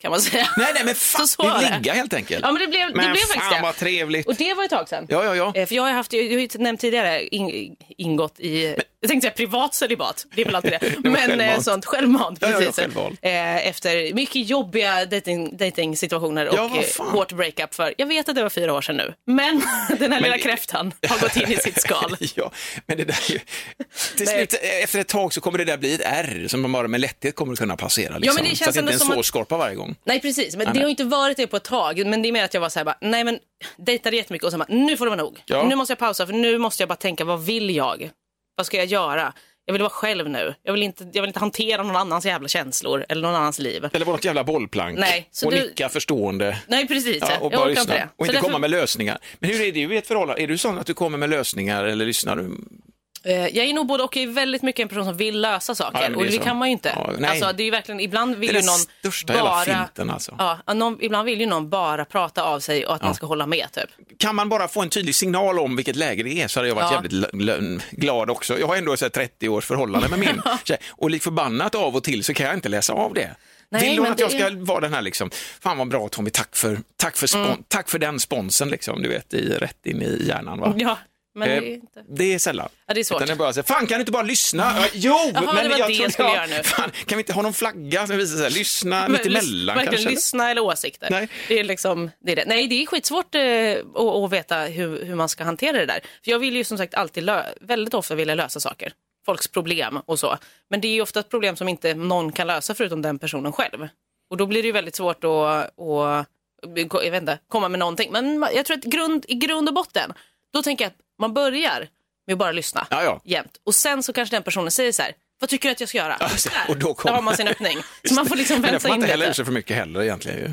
[SPEAKER 1] kan man säga.
[SPEAKER 2] Nej, nej, men fan,
[SPEAKER 1] Så så var
[SPEAKER 2] vi
[SPEAKER 1] det.
[SPEAKER 2] ligga helt enkelt.
[SPEAKER 1] Ja men det blev, det
[SPEAKER 2] Men
[SPEAKER 1] blev
[SPEAKER 2] fan
[SPEAKER 1] faktiskt det.
[SPEAKER 2] vad trevligt.
[SPEAKER 1] Och det var ett tag sedan.
[SPEAKER 2] Ja, ja, ja.
[SPEAKER 1] Eh, För jag har ju haft, jag har ju nämnt tidigare, in, ingått i, jag tänkte säga privat celibat, det är väl alltid det,
[SPEAKER 2] var
[SPEAKER 1] men
[SPEAKER 2] självmant.
[SPEAKER 1] eh, sånt självmant,
[SPEAKER 2] Ja, ja, ja,
[SPEAKER 1] precis.
[SPEAKER 2] självvalt.
[SPEAKER 1] Eh, Efter mycket jobbiga dating, situationer och
[SPEAKER 2] Ja, vad
[SPEAKER 1] eh,
[SPEAKER 2] fan.
[SPEAKER 1] hårt breakup för, jag vet att det var fyra år sedan nu, men den här lilla kräftan har gått in i sitt Eh, skal.
[SPEAKER 2] ja, men det där är ju...
[SPEAKER 1] Nej.
[SPEAKER 2] Till slut, eh, efter ett tag så kommer det där bli ett R som man bara med lätthet kommer att kunna passera. Liksom.
[SPEAKER 1] men det
[SPEAKER 2] så att
[SPEAKER 1] känns
[SPEAKER 2] det inte är en
[SPEAKER 1] ändå som
[SPEAKER 2] svår
[SPEAKER 1] att-
[SPEAKER 2] skorpa varje gång.
[SPEAKER 1] Nej precis, men
[SPEAKER 2] Nej,
[SPEAKER 1] det
[SPEAKER 2] nej.
[SPEAKER 1] har inte varit det på ett tag. Men det är mer att jag var så här, bara, nej men dejtade jättemycket och sen bara, nu får det vara nog.
[SPEAKER 2] Ja.
[SPEAKER 1] Nu måste jag pausa för nu måste jag bara tänka, vad vill jag? Vad ska jag göra? Jag vill vara själv nu. Jag vill inte, jag vill inte hantera någon annans jävla känslor eller någon annans liv.
[SPEAKER 2] Eller vara något jävla bollplank
[SPEAKER 1] Nej, så
[SPEAKER 2] och
[SPEAKER 1] du-
[SPEAKER 2] nicka förstående.
[SPEAKER 1] Nej precis,
[SPEAKER 2] Ja, och
[SPEAKER 1] jag
[SPEAKER 2] bara
[SPEAKER 1] orkar
[SPEAKER 2] lyssna.
[SPEAKER 1] inte det.
[SPEAKER 2] Och
[SPEAKER 1] Så
[SPEAKER 2] inte
[SPEAKER 1] därför-
[SPEAKER 2] komma med lösningar. Men hur är det i ett förhållande? Är du sån att du kommer med lösningar eller lyssnar du?
[SPEAKER 1] Eh, Jag är nog både och. Jag är väldigt mycket en person som vill lösa
[SPEAKER 2] Ja,
[SPEAKER 1] saker.
[SPEAKER 2] men det är
[SPEAKER 1] och det
[SPEAKER 2] så.
[SPEAKER 1] kan man ju inte.
[SPEAKER 2] Ja, nej.
[SPEAKER 1] alltså, det är ju verkligen, ibland vill
[SPEAKER 2] Det
[SPEAKER 1] ju
[SPEAKER 2] är den
[SPEAKER 1] någon
[SPEAKER 2] största jävla
[SPEAKER 1] bara...
[SPEAKER 2] finten, alltså.
[SPEAKER 1] ja, någon, ibland vill ju någon bara prata av sig och att man ska hålla med typ.
[SPEAKER 2] Kan man bara få en tydlig signal om vilket läge det är så hade jag varit
[SPEAKER 1] Ja.
[SPEAKER 2] jävligt l- l- glad också. Jag har ändå så här 30 års förhållande med min tjej och lik förbannat av och till så kan jag inte läsa av det.
[SPEAKER 1] Nej,
[SPEAKER 2] Vill hon
[SPEAKER 1] men
[SPEAKER 2] att jag
[SPEAKER 1] det
[SPEAKER 2] ska
[SPEAKER 1] är-
[SPEAKER 2] vara den här liksom, fan vad bra Tommy, tack för, tack för, spon-
[SPEAKER 1] Mm.
[SPEAKER 2] tack för den sponsen liksom, du vet, i, rätt in i hjärnan va?
[SPEAKER 1] Ja, men
[SPEAKER 2] Eh,
[SPEAKER 1] det är inte...
[SPEAKER 2] det är sällan.
[SPEAKER 1] Ja, det är svårt.
[SPEAKER 2] Utan det är bara så här, fan kan du inte bara lyssna? Ja, jo,
[SPEAKER 1] Jaha,
[SPEAKER 2] men
[SPEAKER 1] det var det
[SPEAKER 2] jag trodde
[SPEAKER 1] jag skulle
[SPEAKER 2] jag-
[SPEAKER 1] göra nu.
[SPEAKER 2] Fan, kan vi inte ha någon flagga som visar så här, lyssna mittemellan
[SPEAKER 1] Verkligen
[SPEAKER 2] kanske?
[SPEAKER 1] lyssna eller åsikter.
[SPEAKER 2] Nej.
[SPEAKER 1] Det är liksom, det är det. Nej, det är skitsvårt eh, att, att veta hur, hur man ska hantera det där. För jag vill ju som sagt alltid, lö- väldigt ofta vilja lösa saker. Folks problem och så. Men det är ju ofta ett problem som inte någon kan lösa förutom den personen själv. Och då blir det ju väldigt svårt att, att jag vet inte, komma med någonting. Men ma- jag tror att grund, i grund och botten, då tänker jag att man börjar med att bara lyssna
[SPEAKER 2] Ja, ja.
[SPEAKER 1] jämt. Och sen så kanske den personen säger så här, vad tycker du att jag ska göra?
[SPEAKER 2] Alltså,
[SPEAKER 1] Där.
[SPEAKER 2] och då
[SPEAKER 1] Där
[SPEAKER 2] kommer-
[SPEAKER 1] har man sin öppning. Så man får liksom
[SPEAKER 2] Men det
[SPEAKER 1] vänta
[SPEAKER 2] får man
[SPEAKER 1] in
[SPEAKER 2] inte hälla ur
[SPEAKER 1] det.
[SPEAKER 2] sig för mycket heller egentligen ju.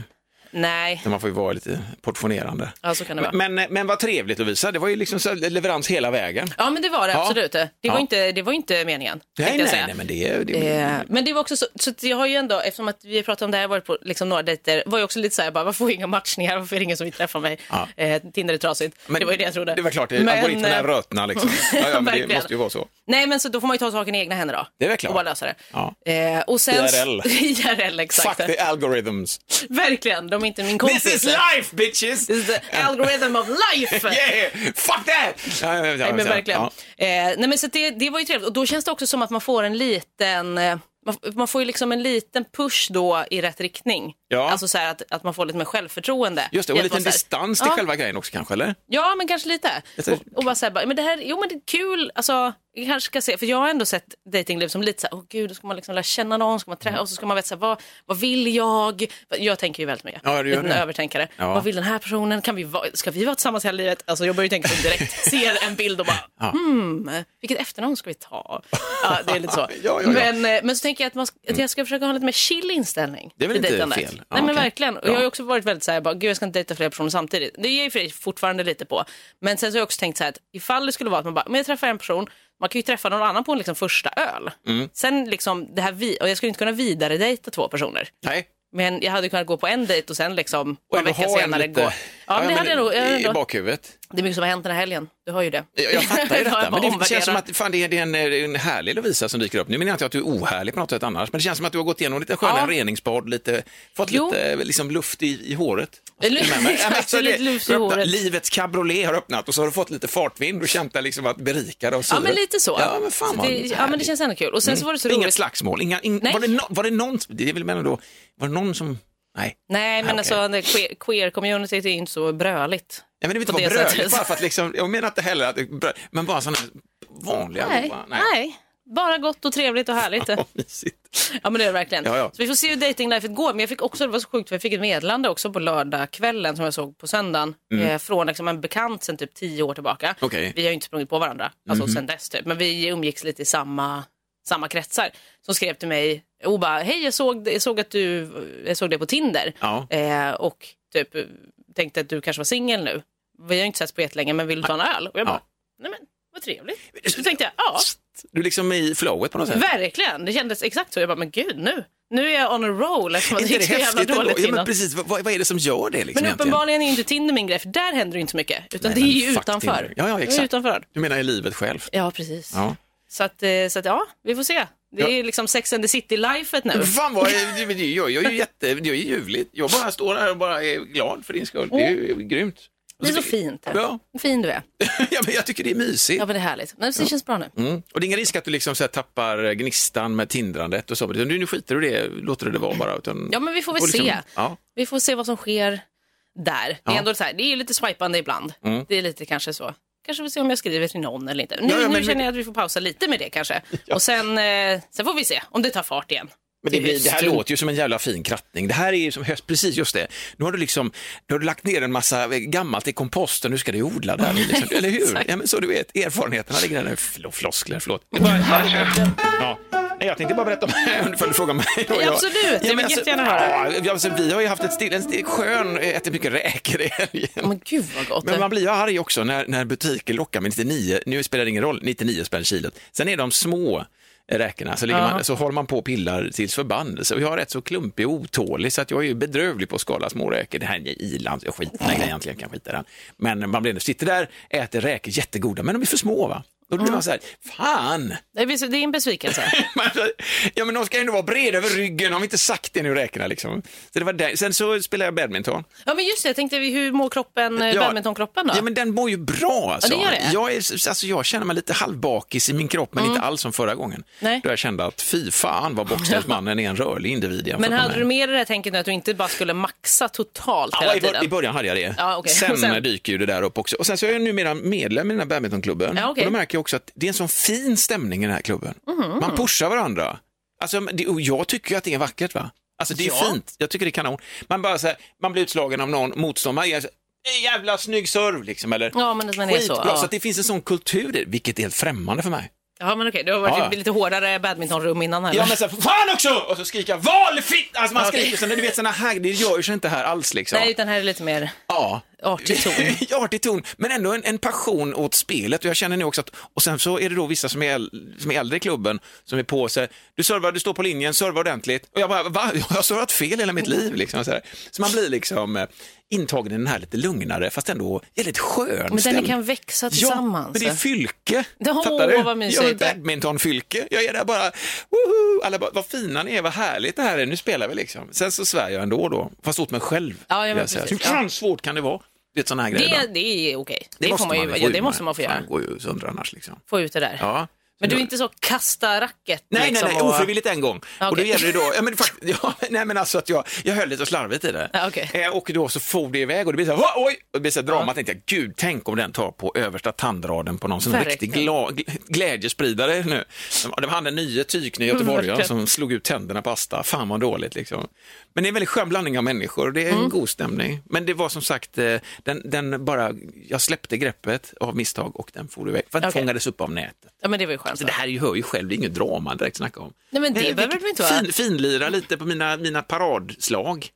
[SPEAKER 1] Nej,
[SPEAKER 2] Men Man får ju vara lite portionerande.
[SPEAKER 1] ja, så kan det vara.
[SPEAKER 2] Men, men, men vad trevligt Lovisa, det var ju liksom så här leverans hela vägen.
[SPEAKER 1] ja, men det var det
[SPEAKER 2] Ja.
[SPEAKER 1] absolut. Det var,
[SPEAKER 2] Ja.
[SPEAKER 1] inte, det var inte meningen.
[SPEAKER 2] Nej,
[SPEAKER 1] tänkte jag
[SPEAKER 2] nej,
[SPEAKER 1] säga.
[SPEAKER 2] nej, men det är... Det,
[SPEAKER 1] Eh, Men det var också så, så att jag har ju ändå, eftersom att vi pratat om det här, varit på liksom några dejter, var jag också lite så här, bara, varför får jag inga matchningar, varför är det ingen som vill träffa mig?
[SPEAKER 2] Ja.
[SPEAKER 1] Eh, Tinder är trasigt,
[SPEAKER 2] men
[SPEAKER 1] det var ju det jag trodde.
[SPEAKER 2] Det var klart,
[SPEAKER 1] Men,
[SPEAKER 2] algoritmerna
[SPEAKER 1] eh,
[SPEAKER 2] rötnar liksom. Ja, ja, men det
[SPEAKER 1] verkligen.
[SPEAKER 2] måste ju vara så.
[SPEAKER 1] Nej, men så då får man ju ta saken i egna händer då.
[SPEAKER 2] Det är väl klart.
[SPEAKER 1] Och bara lösa det.
[SPEAKER 2] Ja.
[SPEAKER 1] Eh, och sen,
[SPEAKER 2] IRL.
[SPEAKER 1] IRL, exakt.
[SPEAKER 2] Fuck the algorithms.
[SPEAKER 1] Verkligen, de är inte min kompis.
[SPEAKER 2] This is life bitches!
[SPEAKER 1] This is the algorithm of life!
[SPEAKER 2] Yeah! Fuck that! Ja, ja, ja,
[SPEAKER 1] Nej, men
[SPEAKER 2] ja.
[SPEAKER 1] verkligen.
[SPEAKER 2] Ja.
[SPEAKER 1] Eh, nej, men så att det, det var ju trevligt. Och då känns det också som att man får en liten... Eh, man, man får ju liksom en liten push då i rätt riktning.
[SPEAKER 2] Ja.
[SPEAKER 1] Alltså så här att, att man får lite mer självförtroende.
[SPEAKER 2] Just det, och en
[SPEAKER 1] Att man
[SPEAKER 2] liten
[SPEAKER 1] så här-
[SPEAKER 2] distans till
[SPEAKER 1] ja,
[SPEAKER 2] själva grejen också kanske, eller?
[SPEAKER 1] Ja, men kanske lite.
[SPEAKER 2] Jag tror-
[SPEAKER 1] Och, och bara så här, bara, men det här, jo men det är kul, alltså, jag kanske ska se, för jag har ändå sett datingliv som lite så här, åh gud, då ska man liksom lära känna någon, ska man
[SPEAKER 2] Mm.
[SPEAKER 1] träffa, och så ska man veta så här, vad, vad vill jag? Jag tänker ju väldigt mycket,
[SPEAKER 2] Ja, du gör
[SPEAKER 1] Liten
[SPEAKER 2] det.
[SPEAKER 1] övertänkare.
[SPEAKER 2] Ja.
[SPEAKER 1] Vad vill den här personen? Kan vi vara, ska vi vara tillsammans hela livet? Alltså jag börjar ju tänka så direkt, ser en bild och bara, hmm, vilket efternamn ska vi ta? Ja, det är lite så.
[SPEAKER 2] Ja, ja, ja.
[SPEAKER 1] Men, eh, men så tänker jag att, man, ska- att jag ska försöka ha en lite mer chill inställning.
[SPEAKER 2] Det är väl
[SPEAKER 1] till
[SPEAKER 2] inte
[SPEAKER 1] dejtandet.
[SPEAKER 2] fel? Ja,
[SPEAKER 1] Nej men
[SPEAKER 2] okej.
[SPEAKER 1] verkligen. Och
[SPEAKER 2] Ja.
[SPEAKER 1] jag har ju också varit väldigt så här, bara, gud jag ska inte dejta flera personer samtidigt. Det ger jag för sig fortfarande lite på. Men sen så har jag också tänkt så här att ifall det skulle vara att man bara, men jag träffar en person, man kan ju träffa någon annan på en liksom första öl.
[SPEAKER 2] Mm.
[SPEAKER 1] Sen liksom det här, vi, och jag skulle inte kunna vidare dejta två personer.
[SPEAKER 2] Nej.
[SPEAKER 1] Men jag hade kunnat gå på en dejt och sen liksom
[SPEAKER 2] Och
[SPEAKER 1] någon
[SPEAKER 2] ändå
[SPEAKER 1] vecka
[SPEAKER 2] ha en
[SPEAKER 1] senare
[SPEAKER 2] lite-
[SPEAKER 1] gå. Ja, men det hade jag nog. jag hade
[SPEAKER 2] I, I
[SPEAKER 1] nog-
[SPEAKER 2] bakhuvudet.
[SPEAKER 1] Det är mycket som har hänt den här helgen, du har ju det.
[SPEAKER 2] Jag, jag fattar ju
[SPEAKER 1] Då har
[SPEAKER 2] detta,
[SPEAKER 1] jag
[SPEAKER 2] men
[SPEAKER 1] bara
[SPEAKER 2] det känns som
[SPEAKER 1] omvärderat.
[SPEAKER 2] att fan, det, är, det, är en, det är en härlig Lovisa som dyker upp. Nu menar jag inte att du är ohärlig på något sätt annars, men det känns som att du har gått igenom lite sköna
[SPEAKER 1] Ja.
[SPEAKER 2] reningsbad, lite, fått
[SPEAKER 1] Jo.
[SPEAKER 2] lite liksom, luft i, i håret.
[SPEAKER 1] Eller-
[SPEAKER 2] Nej, men- Ja, men så
[SPEAKER 1] lite
[SPEAKER 2] det-
[SPEAKER 1] luft i
[SPEAKER 2] öppna-
[SPEAKER 1] håret.
[SPEAKER 2] Livets cabriolet har öppnat och så har du fått lite fartvind och känt dig liksom att berikad av
[SPEAKER 1] Ja
[SPEAKER 2] syret.
[SPEAKER 1] men lite så.
[SPEAKER 2] Ja, men fan
[SPEAKER 1] så
[SPEAKER 2] vad
[SPEAKER 1] det, ja, men det
[SPEAKER 2] härligt.
[SPEAKER 1] känns ändå kul. Och sen så var det så
[SPEAKER 2] Mm. Inget
[SPEAKER 1] roligt.
[SPEAKER 2] slagsmål, inga, in,
[SPEAKER 1] Nej.
[SPEAKER 2] var, det no, var det någon, det vill jag mena då, var det någon som, nej.
[SPEAKER 1] Nej, men
[SPEAKER 2] Ah, okej.
[SPEAKER 1] alltså det queer- queer-communityt är ju inte så bröligt.
[SPEAKER 2] Jag menar inte
[SPEAKER 1] På
[SPEAKER 2] vara
[SPEAKER 1] det
[SPEAKER 2] bröligt
[SPEAKER 1] sättet.
[SPEAKER 2] bara för att liksom, jag menar inte heller att, det är brö- men bara sådana vanliga,
[SPEAKER 1] Nej,
[SPEAKER 2] goa-
[SPEAKER 1] nej. Bara gott och trevligt och härligt.
[SPEAKER 2] Vad mysigt.
[SPEAKER 1] ja, men det är det verkligen.
[SPEAKER 2] Ja, ja.
[SPEAKER 1] Så vi får se hur datinglifet går. Men jag fick också, det var så sjukt, för jag fick ett meddelande också på lördagskvällen som jag såg på söndagen. Eh, från liksom en bekant sen typ tio år tillbaka.
[SPEAKER 2] Mm. Okej. Mhm.
[SPEAKER 1] Vi har ju inte sprungit på varandra alltså, sen dess, typ. men vi umgicks lite i samma, samma kretsar. Som skrev till mig och bara, hej jag såg, jag såg att du jag såg det på Tinder
[SPEAKER 2] Ja.
[SPEAKER 1] eh, och typ tänkte att du kanske var singel nu. Vi har inte setts på jättelänge men vill du ta en öl? Och jag bara,
[SPEAKER 2] Ja.
[SPEAKER 1] nej men vad trevligt. Så tänkte jag, ja.
[SPEAKER 2] Du är liksom i flowet på något sätt.
[SPEAKER 1] Verkligen, det kändes exakt så. Jag bara, men gud nu, nu är jag on a roll eftersom att
[SPEAKER 2] Är
[SPEAKER 1] det gick så jävla
[SPEAKER 2] ändå?
[SPEAKER 1] dåligt
[SPEAKER 2] ja,
[SPEAKER 1] innan.
[SPEAKER 2] men precis, vad, vad är det som gör det? Liksom,
[SPEAKER 1] Men
[SPEAKER 2] egentligen?
[SPEAKER 1] uppenbarligen är ju inte Tinder min grej, för där händer det inte så mycket. Utan
[SPEAKER 2] Nej,
[SPEAKER 1] det är
[SPEAKER 2] men
[SPEAKER 1] ju
[SPEAKER 2] fuck
[SPEAKER 1] utanför.
[SPEAKER 2] Tinder. Ja, ja,
[SPEAKER 1] Det är
[SPEAKER 2] exakt.
[SPEAKER 1] utanför.
[SPEAKER 2] Du menar i livet själv?
[SPEAKER 1] Ja, precis.
[SPEAKER 2] Ja.
[SPEAKER 1] Så, att, eh, så att, ja, vi får se. Det är ju liksom sex and the city-lifet nu.
[SPEAKER 2] Fan vad, det, det, jag, jag är ju jätte, det är ju ljuvligt. Jag bara står här och bara är glad för din skull. Det är ju grymt.
[SPEAKER 1] Det är så fint.
[SPEAKER 2] Ja. Eh.
[SPEAKER 1] Fin du är.
[SPEAKER 2] ja, men jag tycker det är mysigt.
[SPEAKER 1] Ja, men det är härligt. Men det känns bra nu.
[SPEAKER 2] Mm. Och det är ingen risk att du liksom så här tappar gnistan med tindrandet och så. Utan Du, nu skiter du i det, låter du det vara bara. Utan,
[SPEAKER 1] Ja, men vi får väl
[SPEAKER 2] och liksom-
[SPEAKER 1] se.
[SPEAKER 2] Ja.
[SPEAKER 1] Vi får se vad som sker där. Det är ändå så här, det är ju lite swipande ibland. Det är lite kanske så. Kanske vi ser om jag skriver till någon eller inte. Nu,
[SPEAKER 2] Mm. ja,
[SPEAKER 1] nu
[SPEAKER 2] men-
[SPEAKER 1] känner jag att vi får pausa lite med det kanske. Och sen, eh, sen får vi se om det tar fart igen.
[SPEAKER 2] Men det,
[SPEAKER 1] Till
[SPEAKER 2] blir, det här
[SPEAKER 1] hösten.
[SPEAKER 2] låter ju som en jävla fin krattning. Det här är ju som höst, precis just det. Nu har du liksom, nu har du lagt ner en massa gammalt i komposten, nu ska du odla där, liksom, eller hur? Ja, men så du vet, erfarenheterna ligger där. Fl- Floskler, förlåt. Det är bara- Ja. Nej, jag tänkte bara berätta om om du frågar mig. Och jag-
[SPEAKER 1] absolut. Jag
[SPEAKER 2] men
[SPEAKER 1] vill jättegärna höra.
[SPEAKER 2] Ja, alltså, vi har ju haft ett still, en still, skön, ätit mycket räkor i helgen.
[SPEAKER 1] Men gud vad gott.
[SPEAKER 2] Men man blir ju arg också när, när butiker lockar med 99, nu spelar det ingen roll, 99 spänn kilot. Sen är de små räkorna, så, ligger man, så håller man på och pillar tills förbannelse. Och jag är rätt så klumpig och otålig, så att jag är ju bedrövlig på att skala små räkor. Det här är iland, jag skiter i den här grejen egentligen, jag kan skita i den. Men man blir ändå, sitter där, äter räkor, jättegoda, men de är för små va? Då blir man så här, fan!
[SPEAKER 1] Det är det är en besvikelse.
[SPEAKER 2] Men, ja, men de ska ändå vara breda över ryggen, har vi inte sagt det nu räkorna liksom? Så det var det. Sen så spelade jag badminton.
[SPEAKER 1] Ja men just det, jag tänkte hur mår kroppen, eh,
[SPEAKER 2] Ja.
[SPEAKER 1] badmintonkroppen då?
[SPEAKER 2] Ja, men den mår ju bra. Alltså.
[SPEAKER 1] Ja, det gör det. Mm.
[SPEAKER 2] Jag, är, alltså, jag känner mig lite halvbakis i min kropp, men inte alls som förra gången.
[SPEAKER 1] Nej.
[SPEAKER 2] Då jag kände att fy fan vad boxningsmannen är en rörlig individ jämfört
[SPEAKER 1] Men
[SPEAKER 2] med
[SPEAKER 1] hade
[SPEAKER 2] mig.
[SPEAKER 1] du med det där tänket nu att du inte bara skulle maxa totalt
[SPEAKER 2] Ja,
[SPEAKER 1] hela
[SPEAKER 2] i, bör- I
[SPEAKER 1] tiden?
[SPEAKER 2] början hade jag det.
[SPEAKER 1] Ja, okej.
[SPEAKER 2] Sen,
[SPEAKER 1] Sen-
[SPEAKER 2] dyker ju det där upp också. Och sen så är jag numera medlem i den här badmintonklubben.
[SPEAKER 1] Ja, okej. Mm-hmm.
[SPEAKER 2] Och då märker jag också att det är en sån fin stämning i den här klubben. Man pushar varandra. Alltså, det, och jag tycker ju att det är vackert va? Alltså det är fint. Jag tycker det är kanon. Man, bara så här, man blir utslagen av någon motståndare. Man är så här, "Eh, Jävla snygg serv liksom. Eller,
[SPEAKER 1] Ja, men att man är så,
[SPEAKER 2] "Skitbra."
[SPEAKER 1] ja.
[SPEAKER 2] så att det finns en sån kultur, i- vilket är helt främmande för mig.
[SPEAKER 1] Ja men okej, du har varit
[SPEAKER 2] Ja, ja.
[SPEAKER 1] i lite hårdare badmintonrum innan här.
[SPEAKER 2] Ja men såhär, fan också! Och så skriker jag valfitt! Alltså man
[SPEAKER 1] Okej.
[SPEAKER 2] skriker sådär, du vet sådana här, det gör ju sig inte här alls liksom.
[SPEAKER 1] Nej, utan här är det lite mer...
[SPEAKER 2] Ja.
[SPEAKER 1] Artig ton.
[SPEAKER 2] Artig ton, men ändå en, en passion åt spelet. Och jag känner nu också att, och sen så är det då vissa som är, äl- som är äldre i klubben som är på sig, du servar, du står på linjen, servar ordentligt. Och jag bara, va? Jag har servat fel hela mitt liv. Liksom, så, här. så man blir liksom eh, intagen i den här lite lugnare, fast ändå väldigt skön
[SPEAKER 1] Men den
[SPEAKER 2] stämning.
[SPEAKER 1] kan växa
[SPEAKER 2] Ja,
[SPEAKER 1] tillsammans.
[SPEAKER 2] men det är fylke.
[SPEAKER 1] Åh,
[SPEAKER 2] Fattar du?
[SPEAKER 1] vad mysigt.
[SPEAKER 2] Jag är badmintonfylke. Jag är där bara, woho! Alla bara, vad fina ni är, vad härligt det här är, nu spelar vi liksom. Sen så svär jag ändå då, fast åt mig själv.
[SPEAKER 1] Ja, ja, men
[SPEAKER 2] vill jag säga.
[SPEAKER 1] precis,
[SPEAKER 2] Hur
[SPEAKER 1] ja.
[SPEAKER 2] fan svårt kan det vara? Det är sådana här grejer.
[SPEAKER 1] det,
[SPEAKER 2] då.
[SPEAKER 1] det är okej. Det, får man ju,
[SPEAKER 2] få
[SPEAKER 1] ja,
[SPEAKER 2] ur
[SPEAKER 1] det måste man få
[SPEAKER 2] Fan,
[SPEAKER 1] göra.
[SPEAKER 2] går ju sönder annars liksom.
[SPEAKER 1] Få ut det där.
[SPEAKER 2] Ja.
[SPEAKER 1] Men du är inte så kasta racket
[SPEAKER 2] Nej,
[SPEAKER 1] liksom,
[SPEAKER 2] nej, nej,
[SPEAKER 1] och-
[SPEAKER 2] ofrivilligt en gång. Och då
[SPEAKER 1] Okej.
[SPEAKER 2] gäller det då, ja men, fakt- ja, nej, men alltså att jag, jag höll lite slarvigt i det.
[SPEAKER 1] Ja, okej.
[SPEAKER 2] Eh, Och då så for det iväg och det blir så här, "Va, oj, och det blir så här drama. Tänkte jag, gud, tänk om den tar på översta tandraden på någon sån här riktig
[SPEAKER 1] Verkligen.
[SPEAKER 2] gla, gl- glädjespridare nu. Det var han den nya tykne göteborgaren
[SPEAKER 1] Mm, verkligen.
[SPEAKER 2] som slog ut tänderna på Asta. Fan vad dåligt liksom. Men det är en väldigt skön blandning av människor och det är en
[SPEAKER 1] Mm.
[SPEAKER 2] god stämning. Men det var som sagt, eh, den, den bara, jag släppte greppet av misstag och den for iväg. För att
[SPEAKER 1] Okej.
[SPEAKER 2] fångades upp av nätet.
[SPEAKER 1] Ja, men det var ju skönt.
[SPEAKER 2] Så det här är ju, hör ju själv, det är inget drama direkt snacka om. Eh,
[SPEAKER 1] Nej, men det behöver
[SPEAKER 2] vilket-
[SPEAKER 1] det inte vara.
[SPEAKER 2] Fin, finlira lite på mina, mina paradslag.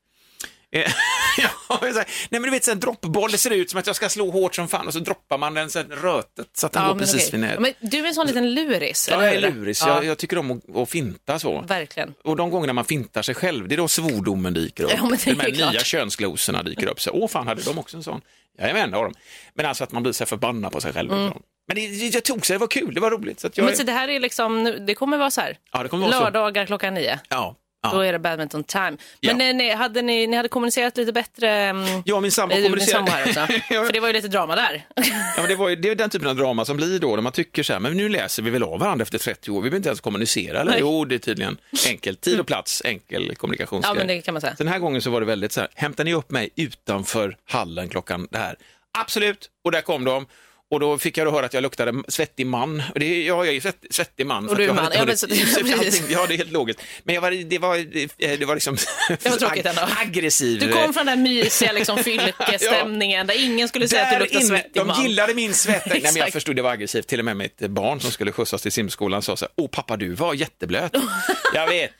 [SPEAKER 2] Eh, ja, jag säger, Nej men du vet, så en droppboll, det ser ut som att jag ska slå hårt som fan och så droppar man den så här, rötet så att den
[SPEAKER 1] ja,
[SPEAKER 2] går precis
[SPEAKER 1] okej.
[SPEAKER 2] vid
[SPEAKER 1] Ja,
[SPEAKER 2] nätet.
[SPEAKER 1] men du är en sån liten luris.
[SPEAKER 2] Ja,
[SPEAKER 1] eller
[SPEAKER 2] jag är
[SPEAKER 1] hur?
[SPEAKER 2] luris, jag,
[SPEAKER 1] Ja,
[SPEAKER 2] jag tycker om att, att finta så.
[SPEAKER 1] Verkligen.
[SPEAKER 2] Och de gångerna man fintar sig själv, det är då svordomen dyker upp.
[SPEAKER 1] Ja, men det är
[SPEAKER 2] de här
[SPEAKER 1] ju klart.
[SPEAKER 2] nya könsglosorna dyker upp. Så, Åh fan, hade de också en sån? Jajamän, det har de. Men alltså att man blir så här förbannad på sig själv. Men det, jag tog sig, det var kul, det var roligt. Så att jag,
[SPEAKER 1] Mm. Men så det här är liksom, nu- det kommer vara så här.
[SPEAKER 2] Ja, det kommer vara så.
[SPEAKER 1] Lördagar klockan nio.
[SPEAKER 2] ja, ja.
[SPEAKER 1] Då är det badminton time.
[SPEAKER 2] Ja.
[SPEAKER 1] Men eh, ni, hade ni, ni hade kommunicerat lite bättre? mm,
[SPEAKER 2] Ja, min sambo
[SPEAKER 1] eh,
[SPEAKER 2] kommunicerade-
[SPEAKER 1] Min sambo här också.
[SPEAKER 2] Ja.
[SPEAKER 1] För det var ju lite drama där.
[SPEAKER 2] Ja, men det, var ju, det är den typen av drama som blir då, när man tycker så här, men nu läser vi väl av varandra efter 30 år, vi behöver inte ens kommunicera. Eller?
[SPEAKER 1] Nej.
[SPEAKER 2] Jo, det är tydligen enkelt. Tid och plats, enkel kommunikationsgrej.
[SPEAKER 1] Ja, men det kan man säga.
[SPEAKER 2] Den här gången så var det väldigt så här, hämtar ni upp mig utanför hallen klockan det här? Absolut, och där kom de. Och då fick jag då höra att jag luktade svettig man. Och det, ja, jag är ju svett, svettig man. för
[SPEAKER 1] Och du
[SPEAKER 2] att jag
[SPEAKER 1] är man.
[SPEAKER 2] hade
[SPEAKER 1] Ja,
[SPEAKER 2] hunnit-
[SPEAKER 1] men så- ja, precis.
[SPEAKER 2] allting- ja, det är helt logiskt. Men jag var, det, var, det, det var liksom...
[SPEAKER 1] Det var tråkigt ändå.
[SPEAKER 2] Aggressiv. eh,
[SPEAKER 1] Du kom från den där mysiga liksom, fylkestämningen där ingen skulle säga att du
[SPEAKER 2] Där
[SPEAKER 1] luktar
[SPEAKER 2] inne,
[SPEAKER 1] svettig
[SPEAKER 2] de
[SPEAKER 1] man.
[SPEAKER 2] gillade min svett. Nej, men jag
[SPEAKER 1] Exakt.
[SPEAKER 2] förstod det var aggressivt. Till och med mitt barn som skulle skjutsas till simskolan sa så här, åh pappa du var jätteblöt. jag vet.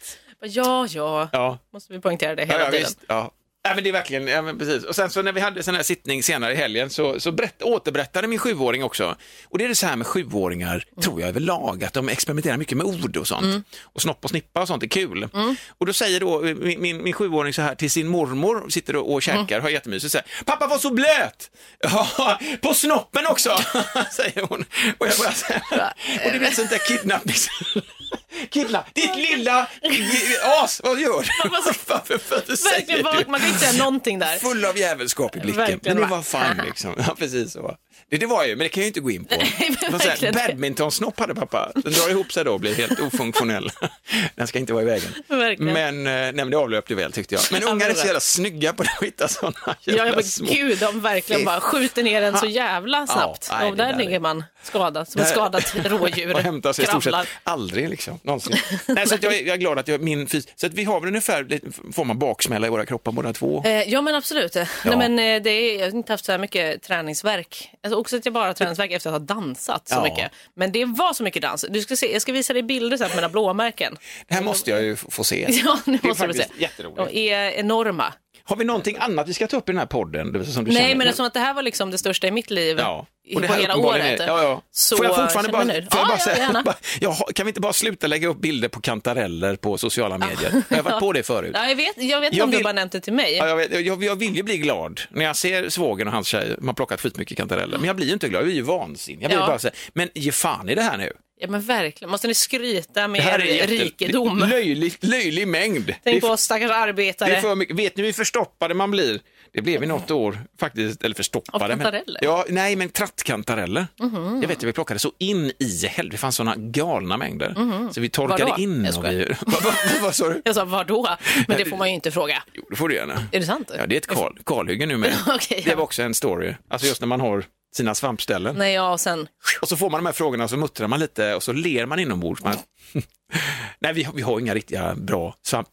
[SPEAKER 1] Ja, ja,
[SPEAKER 2] Ja,
[SPEAKER 1] Måste vi poängtera det
[SPEAKER 2] ja,
[SPEAKER 1] hela
[SPEAKER 2] ja
[SPEAKER 1] tiden.
[SPEAKER 2] visst. Ja. Ja, men det är verkligen, ja, men precis. Och sen så när vi hade sån här sittning senare i helgen så, så berätt, återberättade min sjuåring också. Och det är det så här med sjuåringar, tror jag överlag, att de experimenterar mycket med ord och sånt. Och snopp och snippa och sånt är kul. Och då säger då eh, min, min, min sjuåring så här till sin mormor, sitter och, och käkar, har jättemysigt, så här, pappa var så blöt! Ja, på snoppen också, säger hon. Och jag bara så här, och det blir ett sånt där kidnappnings... Kidna, ditt lilla as, vad gör du? Varför föddes
[SPEAKER 1] Verkligen, vad- man kan inte säga någonting där.
[SPEAKER 2] Full av jävelskap i blicken.
[SPEAKER 1] Verkligen,
[SPEAKER 2] men det
[SPEAKER 1] va?
[SPEAKER 2] var fine liksom. Ja, precis så. Det, det var ju, men det kan jag ju inte gå in på.
[SPEAKER 1] men
[SPEAKER 2] Det var så här,
[SPEAKER 1] verkligen.
[SPEAKER 2] Badmintonsnopp hade pappa. Den drar ihop sig då och blir helt ofunktionell. Den ska inte vara i vägen.
[SPEAKER 1] Verkligen.
[SPEAKER 2] Men, eh, nej, men det avlöpte väl tyckte jag. Men
[SPEAKER 1] Ja,
[SPEAKER 2] ungar är
[SPEAKER 1] men
[SPEAKER 2] så
[SPEAKER 1] det-
[SPEAKER 2] jävla snygga på det att hitta sådana
[SPEAKER 1] Ja,
[SPEAKER 2] jävla
[SPEAKER 1] jag
[SPEAKER 2] små-
[SPEAKER 1] bara, gud, de verkligen
[SPEAKER 2] Fy
[SPEAKER 1] bara skjuter ner en så jävla snabbt.
[SPEAKER 2] nej,
[SPEAKER 1] och
[SPEAKER 2] det
[SPEAKER 1] där,
[SPEAKER 2] där är-
[SPEAKER 1] ligger man skadad, som ett skadat rådjur.
[SPEAKER 2] och hämtar sig i stort sett
[SPEAKER 1] Kravlar.
[SPEAKER 2] aldrig liksom, någonsin. Nej, så att jag, är, jag är glad att jag, min fys... Så att vi har väl ungefär lite form av baksmälla i våra kroppar båda två.
[SPEAKER 1] Eh, Ja men absolut. Nej, men, eh, det är, jag har inte haft så här mycket träningsverk. Alltså, alltså också att jag bara har träningsvärk efter att ha dansat så
[SPEAKER 2] Ja.
[SPEAKER 1] mycket. Men det var så mycket dans. Du ska se, jag ska visa dig bilder sen på mina blåmärken.
[SPEAKER 2] Det här måste jag ju f- få se.
[SPEAKER 1] Ja, nu
[SPEAKER 2] det är
[SPEAKER 1] måste vi se.
[SPEAKER 2] faktiskt jätteroligt.
[SPEAKER 1] De är enorma.
[SPEAKER 2] Har vi någonting annat vi ska ta upp i den här podden? det vill säga Som du
[SPEAKER 1] Nej,
[SPEAKER 2] känner?
[SPEAKER 1] men eftersom att det här var liksom det största i mitt liv
[SPEAKER 2] Ja.
[SPEAKER 1] i- på hela
[SPEAKER 2] uppenbarligen
[SPEAKER 1] året.
[SPEAKER 2] är- Ja, ja.
[SPEAKER 1] Så
[SPEAKER 2] får jag fortfarande bara,
[SPEAKER 1] känner mig nöjd. ja,
[SPEAKER 2] får jag bara
[SPEAKER 1] ja,
[SPEAKER 2] säga,
[SPEAKER 1] gärna.
[SPEAKER 2] bara, jag har- kan vi inte bara sluta lägga upp bilder på kantareller på sociala medier? Jag har varit på det förut.
[SPEAKER 1] Ja, jag vet, jag vet inte
[SPEAKER 2] Jag
[SPEAKER 1] om
[SPEAKER 2] vill-
[SPEAKER 1] du bara nämnt det till mig.
[SPEAKER 2] Ja, jag, vet, jag, jag vill ju bli glad när jag ser svågen och hans tjej, man har plockat skitmycket kantareller, men jag blir ju inte glad, jag blir ju vansinnig. Jag blir
[SPEAKER 1] Ja.
[SPEAKER 2] bara så här, men ge fan i det här nu.
[SPEAKER 1] Ja, men verkligen. Måste ni skryta med
[SPEAKER 2] Det här
[SPEAKER 1] er
[SPEAKER 2] är jätte-
[SPEAKER 1] rikedom?
[SPEAKER 2] Löjlig, löjlig mängd. Det är
[SPEAKER 1] Tänk på
[SPEAKER 2] f-
[SPEAKER 1] oss stackars
[SPEAKER 2] Det är
[SPEAKER 1] arbetare.
[SPEAKER 2] för mycket. Vet ni hur förstoppade man blir? Det blev i något år faktiskt, eller förstoppade.
[SPEAKER 1] Av kantareller? Mhm.
[SPEAKER 2] Men, ja, nej, men trattkantareller. Jag vet att vi plockade så in i helvete, det fanns sådana galna mängder. Så vi torkade
[SPEAKER 1] Mhm. Vadå?
[SPEAKER 2] in
[SPEAKER 1] Jag
[SPEAKER 2] och
[SPEAKER 1] skojar.
[SPEAKER 2] vi... vad, vad, vad sa du?
[SPEAKER 1] Jag sa, vadå? Men det får man ju inte fråga.
[SPEAKER 2] Jo, det får du gärna.
[SPEAKER 1] Är det sant?
[SPEAKER 2] Ja, det är ett kal, kalhygge nu med.
[SPEAKER 1] Okej, ja.
[SPEAKER 2] Det var också en story, alltså just när man har sina svampställen.
[SPEAKER 1] Nej, ja, och sen...
[SPEAKER 2] Och så får man de här frågorna så muttrar man lite och så ler man inombords. Man... Nej, vi, har- vi har inga riktiga bra svamp.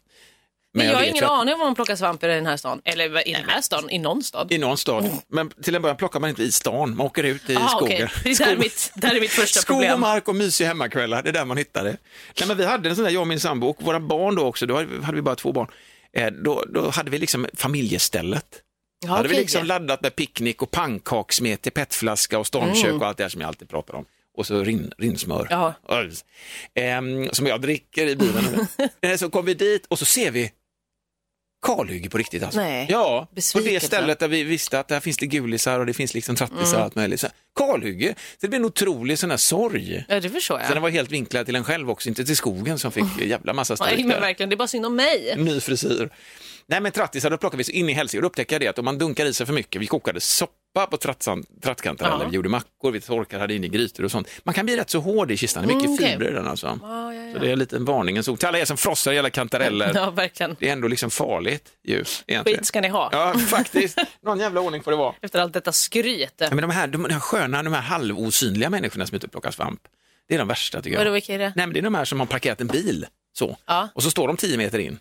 [SPEAKER 1] Men jag, har
[SPEAKER 2] vet ju
[SPEAKER 1] ingen
[SPEAKER 2] att-
[SPEAKER 1] aning om man plockar svamp i den här stan. Eller i den här stan, i någon stad.
[SPEAKER 2] I någon stad. Men till en början plockar man inte i stan, man åker ut i
[SPEAKER 1] Ah,
[SPEAKER 2] skogen.
[SPEAKER 1] Mm. okej. Det är där, mitt, där är mitt första
[SPEAKER 2] Skog och
[SPEAKER 1] problem.
[SPEAKER 2] mark och mysiga hemmakvällar, det är där man hittar det. Nej, men vi hade en sån där, jag och min sambo och våra barn då också, då hade vi bara två barn. Eh, Då, då hade vi liksom familjestället.
[SPEAKER 1] Ja,
[SPEAKER 2] Då hade vi
[SPEAKER 1] okej.
[SPEAKER 2] liksom laddat med picknick och pannkakssmet i petflaska och stormkök och allt det här som jag alltid pratar om. Och så rin, rinsmör.
[SPEAKER 1] Mm. Ja.
[SPEAKER 2] Ehm, som jag dricker i bilen. Eh, så kom vi dit och så ser vi kalhygge på riktigt. Alltså.
[SPEAKER 1] Nej.
[SPEAKER 2] Ja, på det
[SPEAKER 1] Besvikelse.
[SPEAKER 2] stället där vi visste att där finns det gulisar och det finns liksom trattisar
[SPEAKER 1] Mm.
[SPEAKER 2] och allt möjligt. Så här, Kalhygge, så det blev en otrolig sån här sorg.
[SPEAKER 1] Ja, det förstår
[SPEAKER 2] Så den
[SPEAKER 1] jag.
[SPEAKER 2] var helt vinklad till en själv också, inte till skogen som fick en jävla massa
[SPEAKER 1] Nej,
[SPEAKER 2] stryk
[SPEAKER 1] men
[SPEAKER 2] där.
[SPEAKER 1] verkligen, det är bara synd om mig.
[SPEAKER 2] Ny frisyr. Nej men trattisar, då plockade vi så in i helsike och då upptäckte jag det att om man dunkar i sig för mycket, vi kokade soppa på trattsan- trattkantareller,
[SPEAKER 1] Ja.
[SPEAKER 2] vi gjorde mackor, vi torkade, hade in i grytor och sånt. Man kan bli rätt så hård i kistan, det är mycket
[SPEAKER 1] Mm, okej.
[SPEAKER 2] fibrer i den alltså.
[SPEAKER 1] Ja, ja,
[SPEAKER 2] Så
[SPEAKER 1] ja.
[SPEAKER 2] det är en liten varningens ord till alla er som frossar i alla kantareller.
[SPEAKER 1] ja, verkligen.
[SPEAKER 2] Det är ändå liksom farligt ju. egentligen.
[SPEAKER 1] Skit ska ni ha.
[SPEAKER 2] Ja, faktiskt. Någon jävla ordning får det vara.
[SPEAKER 1] Efter allt detta skryt.
[SPEAKER 2] Ja, men de här, de, de här sköna, de här halvosynliga människorna som är ute och plockar svamp, det är de värsta tycker jag.
[SPEAKER 1] Vadå, vilka är det?
[SPEAKER 2] Nej, men det är de här som har parkerat en bil så,
[SPEAKER 1] Ja.
[SPEAKER 2] och så står de 10 meter in.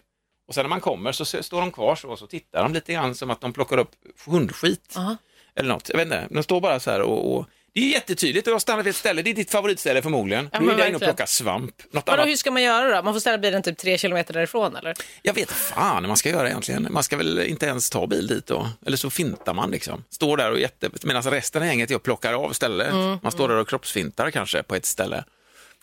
[SPEAKER 2] Och sen när man kommer så s- står de kvar så och så tittar de lite grann som att de plockar upp hundskit.
[SPEAKER 1] Aha.
[SPEAKER 2] Eller något, jag vet inte. De står bara så här och, och det är ju jättetydligt och jag stannar vid ett ställe, det är ditt favoritställe förmodligen.
[SPEAKER 1] Ja,
[SPEAKER 2] du
[SPEAKER 1] men
[SPEAKER 2] är där inne och
[SPEAKER 1] verkligen.
[SPEAKER 2] plockar svamp. Något
[SPEAKER 1] Vadå,
[SPEAKER 2] annat.
[SPEAKER 1] hur ska man göra då? Man får ställa bilen typ tre kilometer därifrån eller?
[SPEAKER 2] Jag vet fan hur man ska göra egentligen. Man ska väl inte ens ta bil dit då. Eller så fintar man liksom. Står där och jätte... Medan resten av gänget jag plockar av stället.
[SPEAKER 1] Mm.
[SPEAKER 2] Man står där och kroppsfintar kanske på ett ställe.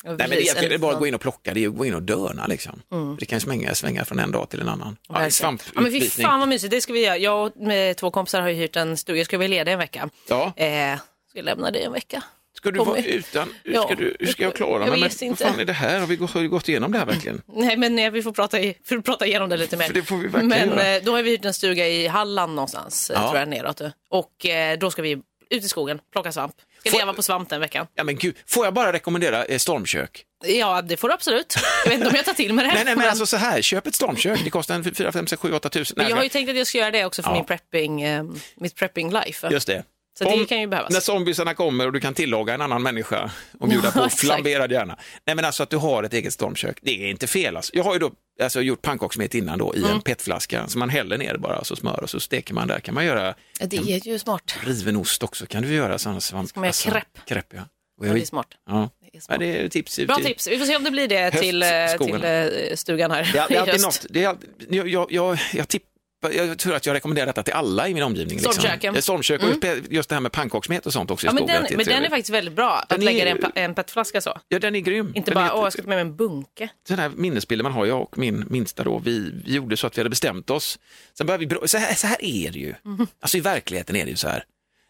[SPEAKER 2] Nej, men det, är, egentligen- det är bara att gå in och plocka, det är att gå in och döna liksom. Det kan ju svänga, svänga från en dag till en annan. Ja, det är
[SPEAKER 1] Mm. Ja, men fy
[SPEAKER 2] svamputbitning.
[SPEAKER 1] fan vad mysigt, det ska vi göra. Jag och med två kompisar har ju hyrt en stuga, jag ska vara ledig en vecka.
[SPEAKER 2] Ja.
[SPEAKER 1] Eh, ska jag lämna dig en vecka?
[SPEAKER 2] Ska du
[SPEAKER 1] Kom
[SPEAKER 2] vara
[SPEAKER 1] igen.
[SPEAKER 2] utan? Hur
[SPEAKER 1] Ja.
[SPEAKER 2] ska, du, hur ska jag klara
[SPEAKER 1] Jag
[SPEAKER 2] mig?
[SPEAKER 1] vet
[SPEAKER 2] men,
[SPEAKER 1] inte.
[SPEAKER 2] Vad fan är det här? Har vi gått, har vi gått igenom det här verkligen?
[SPEAKER 1] Nej, men eh, vi får prata, i, får prata igenom det lite mer.
[SPEAKER 2] För det får vi verkligen
[SPEAKER 1] men
[SPEAKER 2] göra.
[SPEAKER 1] eh, då har vi hyrt en stuga i Halland någonstans, eh,
[SPEAKER 2] Ja.
[SPEAKER 1] tror jag, neråt. Och eh, då ska vi ut i skogen, plocka svamp. Ska
[SPEAKER 2] Får-
[SPEAKER 1] leva på svamp den veckan.
[SPEAKER 2] Ja, men gud. Får jag bara rekommendera eh, stormkök?
[SPEAKER 1] Ja, det får du absolut. Jag vet inte om jag tar till mig det här.
[SPEAKER 2] Nej, nej, men alltså så här, köp ett stormkök. Det kostar en 4, 5, 6, 7, 8 tusen.
[SPEAKER 1] Men
[SPEAKER 2] Nej,
[SPEAKER 1] jag har
[SPEAKER 2] men-
[SPEAKER 1] ju tänkt att jag ska göra det också för
[SPEAKER 2] Ja.
[SPEAKER 1] min prepping, eh, mitt prepping life.
[SPEAKER 2] Just det.
[SPEAKER 1] Så det kan ju behövas.
[SPEAKER 2] När zombiesarna kommer och du kan tillaga en annan människa och bjuda på
[SPEAKER 1] exakt.
[SPEAKER 2] flamberad gärna. Nej men alltså att du har ett eget stormkök, det är inte fel alltså. Jag har ju då alltså, gjort pannkakssmet innan då i
[SPEAKER 1] Mm.
[SPEAKER 2] en petflaska som man häller ner bara, alltså smör och så steker man där. Kan man göra
[SPEAKER 1] Det är ju smart.
[SPEAKER 2] riven ost också? Kan du göra sådana svamp? alltså,
[SPEAKER 1] Ska man göra crepe?
[SPEAKER 2] ja.
[SPEAKER 1] Ja, det är smart.
[SPEAKER 2] Ja.
[SPEAKER 1] Det är smart.
[SPEAKER 2] Ja, det är tips.
[SPEAKER 1] Bra
[SPEAKER 2] Det-
[SPEAKER 1] tips. Vi får se om det blir det
[SPEAKER 2] Höst,
[SPEAKER 1] till, eh,
[SPEAKER 2] skogen.
[SPEAKER 1] till eh, stugan här.
[SPEAKER 2] Det är, det är
[SPEAKER 1] i
[SPEAKER 2] alltid
[SPEAKER 1] höst.
[SPEAKER 2] något. Det är, all- jag, jag, jag, jag tippar jag tror att jag rekommenderar detta till alla i min omgivning. Liksom.
[SPEAKER 1] Stormköken. Mm.
[SPEAKER 2] Eh, Stormkök och just- just det här med pannkakssmet och sånt också i
[SPEAKER 1] Ja, men
[SPEAKER 2] skogen.
[SPEAKER 1] den,
[SPEAKER 2] att det är
[SPEAKER 1] men den är
[SPEAKER 2] trevligt.
[SPEAKER 1] faktiskt väldigt bra,
[SPEAKER 2] Den
[SPEAKER 1] att lägga
[SPEAKER 2] är-
[SPEAKER 1] i en, pa- en petflaska så.
[SPEAKER 2] Ja, den är grym.
[SPEAKER 1] Inte
[SPEAKER 2] Den
[SPEAKER 1] bara,
[SPEAKER 2] är
[SPEAKER 1] åh,
[SPEAKER 2] jätte-
[SPEAKER 1] jag ska ta med mig en bunke.
[SPEAKER 2] sådana här minnesbilder man har, jag och min minsta då, vi vi gjorde så att vi hade bestämt oss. Sen började vi, brå- så här, så här är det ju.
[SPEAKER 1] Mm.
[SPEAKER 2] Alltså i verkligheten är det ju så här.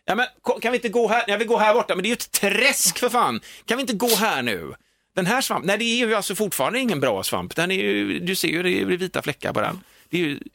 [SPEAKER 2] Ja, men, ko- kan vi inte gå här? Jag vill gå här borta, men det är ju ett träsk för fan. Kan vi inte gå här nu? Den här svampen, nej det är ju alltså fortfarande ingen bra svamp. Den är ju, du ser ju, det är ju vita fläckar på den. Det är ju...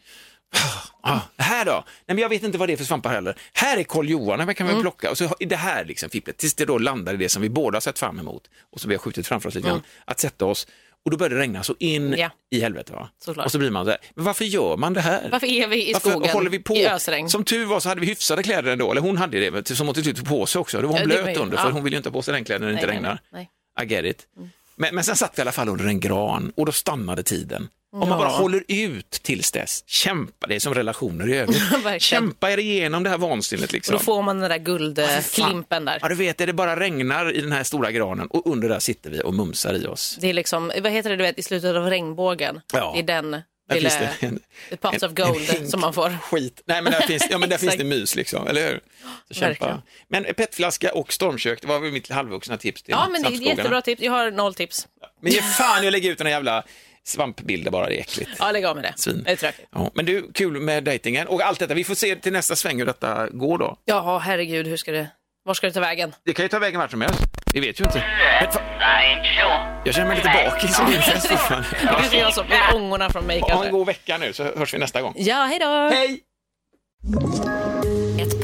[SPEAKER 2] Ah, här då? Nej, men jag vet inte vad det är för svampar heller. Här är karl johan den kan vi
[SPEAKER 1] Mm.
[SPEAKER 2] plocka. Och så har- det här liksom fipplet, tills det då landar i det som vi båda sett fram emot och som vi har skjutit framför oss lite grann, att sätta oss. Och då börjar det regna så in
[SPEAKER 1] Mm. Ja.
[SPEAKER 2] i helvete. Va?
[SPEAKER 1] Såklart.
[SPEAKER 2] Och så blir man så här, men varför gör man det här?
[SPEAKER 1] Varför är vi i
[SPEAKER 2] Varför
[SPEAKER 1] skogen
[SPEAKER 2] håller vi på?
[SPEAKER 1] i ösregn?
[SPEAKER 2] Som tur var så hade vi hyfsade kläder ändå, eller hon hade det, men som hon till slut tog på sig också. Det var hon
[SPEAKER 1] Ja, det var
[SPEAKER 2] blöt
[SPEAKER 1] ju-
[SPEAKER 2] under, för
[SPEAKER 1] ja.
[SPEAKER 2] hon vill ju inte ha på sig regnkläder när det
[SPEAKER 1] Nej,
[SPEAKER 2] inte
[SPEAKER 1] nej, Mm.
[SPEAKER 2] regnar.
[SPEAKER 1] nej.
[SPEAKER 2] I get it. Men, men sen satt vi i alla fall under en gran och då stannade tiden. Om man bara håller ut tills dess, kämpa, det är som relationer i övrigt.
[SPEAKER 1] Verkligen.
[SPEAKER 2] kämpa er igenom det här vansinnet. Liksom.
[SPEAKER 1] Och då får man den där guldklimpen där.
[SPEAKER 2] Ja, du vet, det det bara regnar i den här stora granen och under där sitter vi och mumsar i oss.
[SPEAKER 1] Det är liksom, vad heter det du vet, i slutet av regnbågen?
[SPEAKER 2] Ja.
[SPEAKER 1] Det är den
[SPEAKER 2] Där
[SPEAKER 1] lilla
[SPEAKER 2] finns det en-
[SPEAKER 1] pounds
[SPEAKER 2] en-
[SPEAKER 1] of
[SPEAKER 2] en
[SPEAKER 1] gold
[SPEAKER 2] hink
[SPEAKER 1] som man får.
[SPEAKER 2] Skit. Nej, men där finns, ja, men där finns
[SPEAKER 1] Exakt.
[SPEAKER 2] det mys, liksom, eller hur? Så kämpa.
[SPEAKER 1] Verkligen.
[SPEAKER 2] Men petflaska och stormkök, det var väl mitt halvvuxna tips till
[SPEAKER 1] Ja, men det är ett
[SPEAKER 2] snabbskogarna.
[SPEAKER 1] jättebra tips. Jag har noll tips.
[SPEAKER 2] Men ge fan jag lägger ut den här jävla svampbilden bara, det är äckligt.
[SPEAKER 1] Ja, lägg av med det.
[SPEAKER 2] Svin.
[SPEAKER 1] Det är tråkigt.
[SPEAKER 2] Ja, men du, kul med dejtingen och allt detta. Vi får se till nästa sväng hur detta går då.
[SPEAKER 1] Ja, herregud, hur ska det... Var ska det ta vägen?
[SPEAKER 2] Det kan ju ta vägen vart som helst. Vi vet ju inte. Men fa- jag känner mig lite bakis i min fest fortfarande.
[SPEAKER 1] Det kanske är jag som med ångorna från mig
[SPEAKER 2] Ha en
[SPEAKER 1] kanske.
[SPEAKER 2] god vecka nu så hörs vi nästa gång.
[SPEAKER 1] Ja, hej då!
[SPEAKER 2] Hej!
[SPEAKER 4] Ett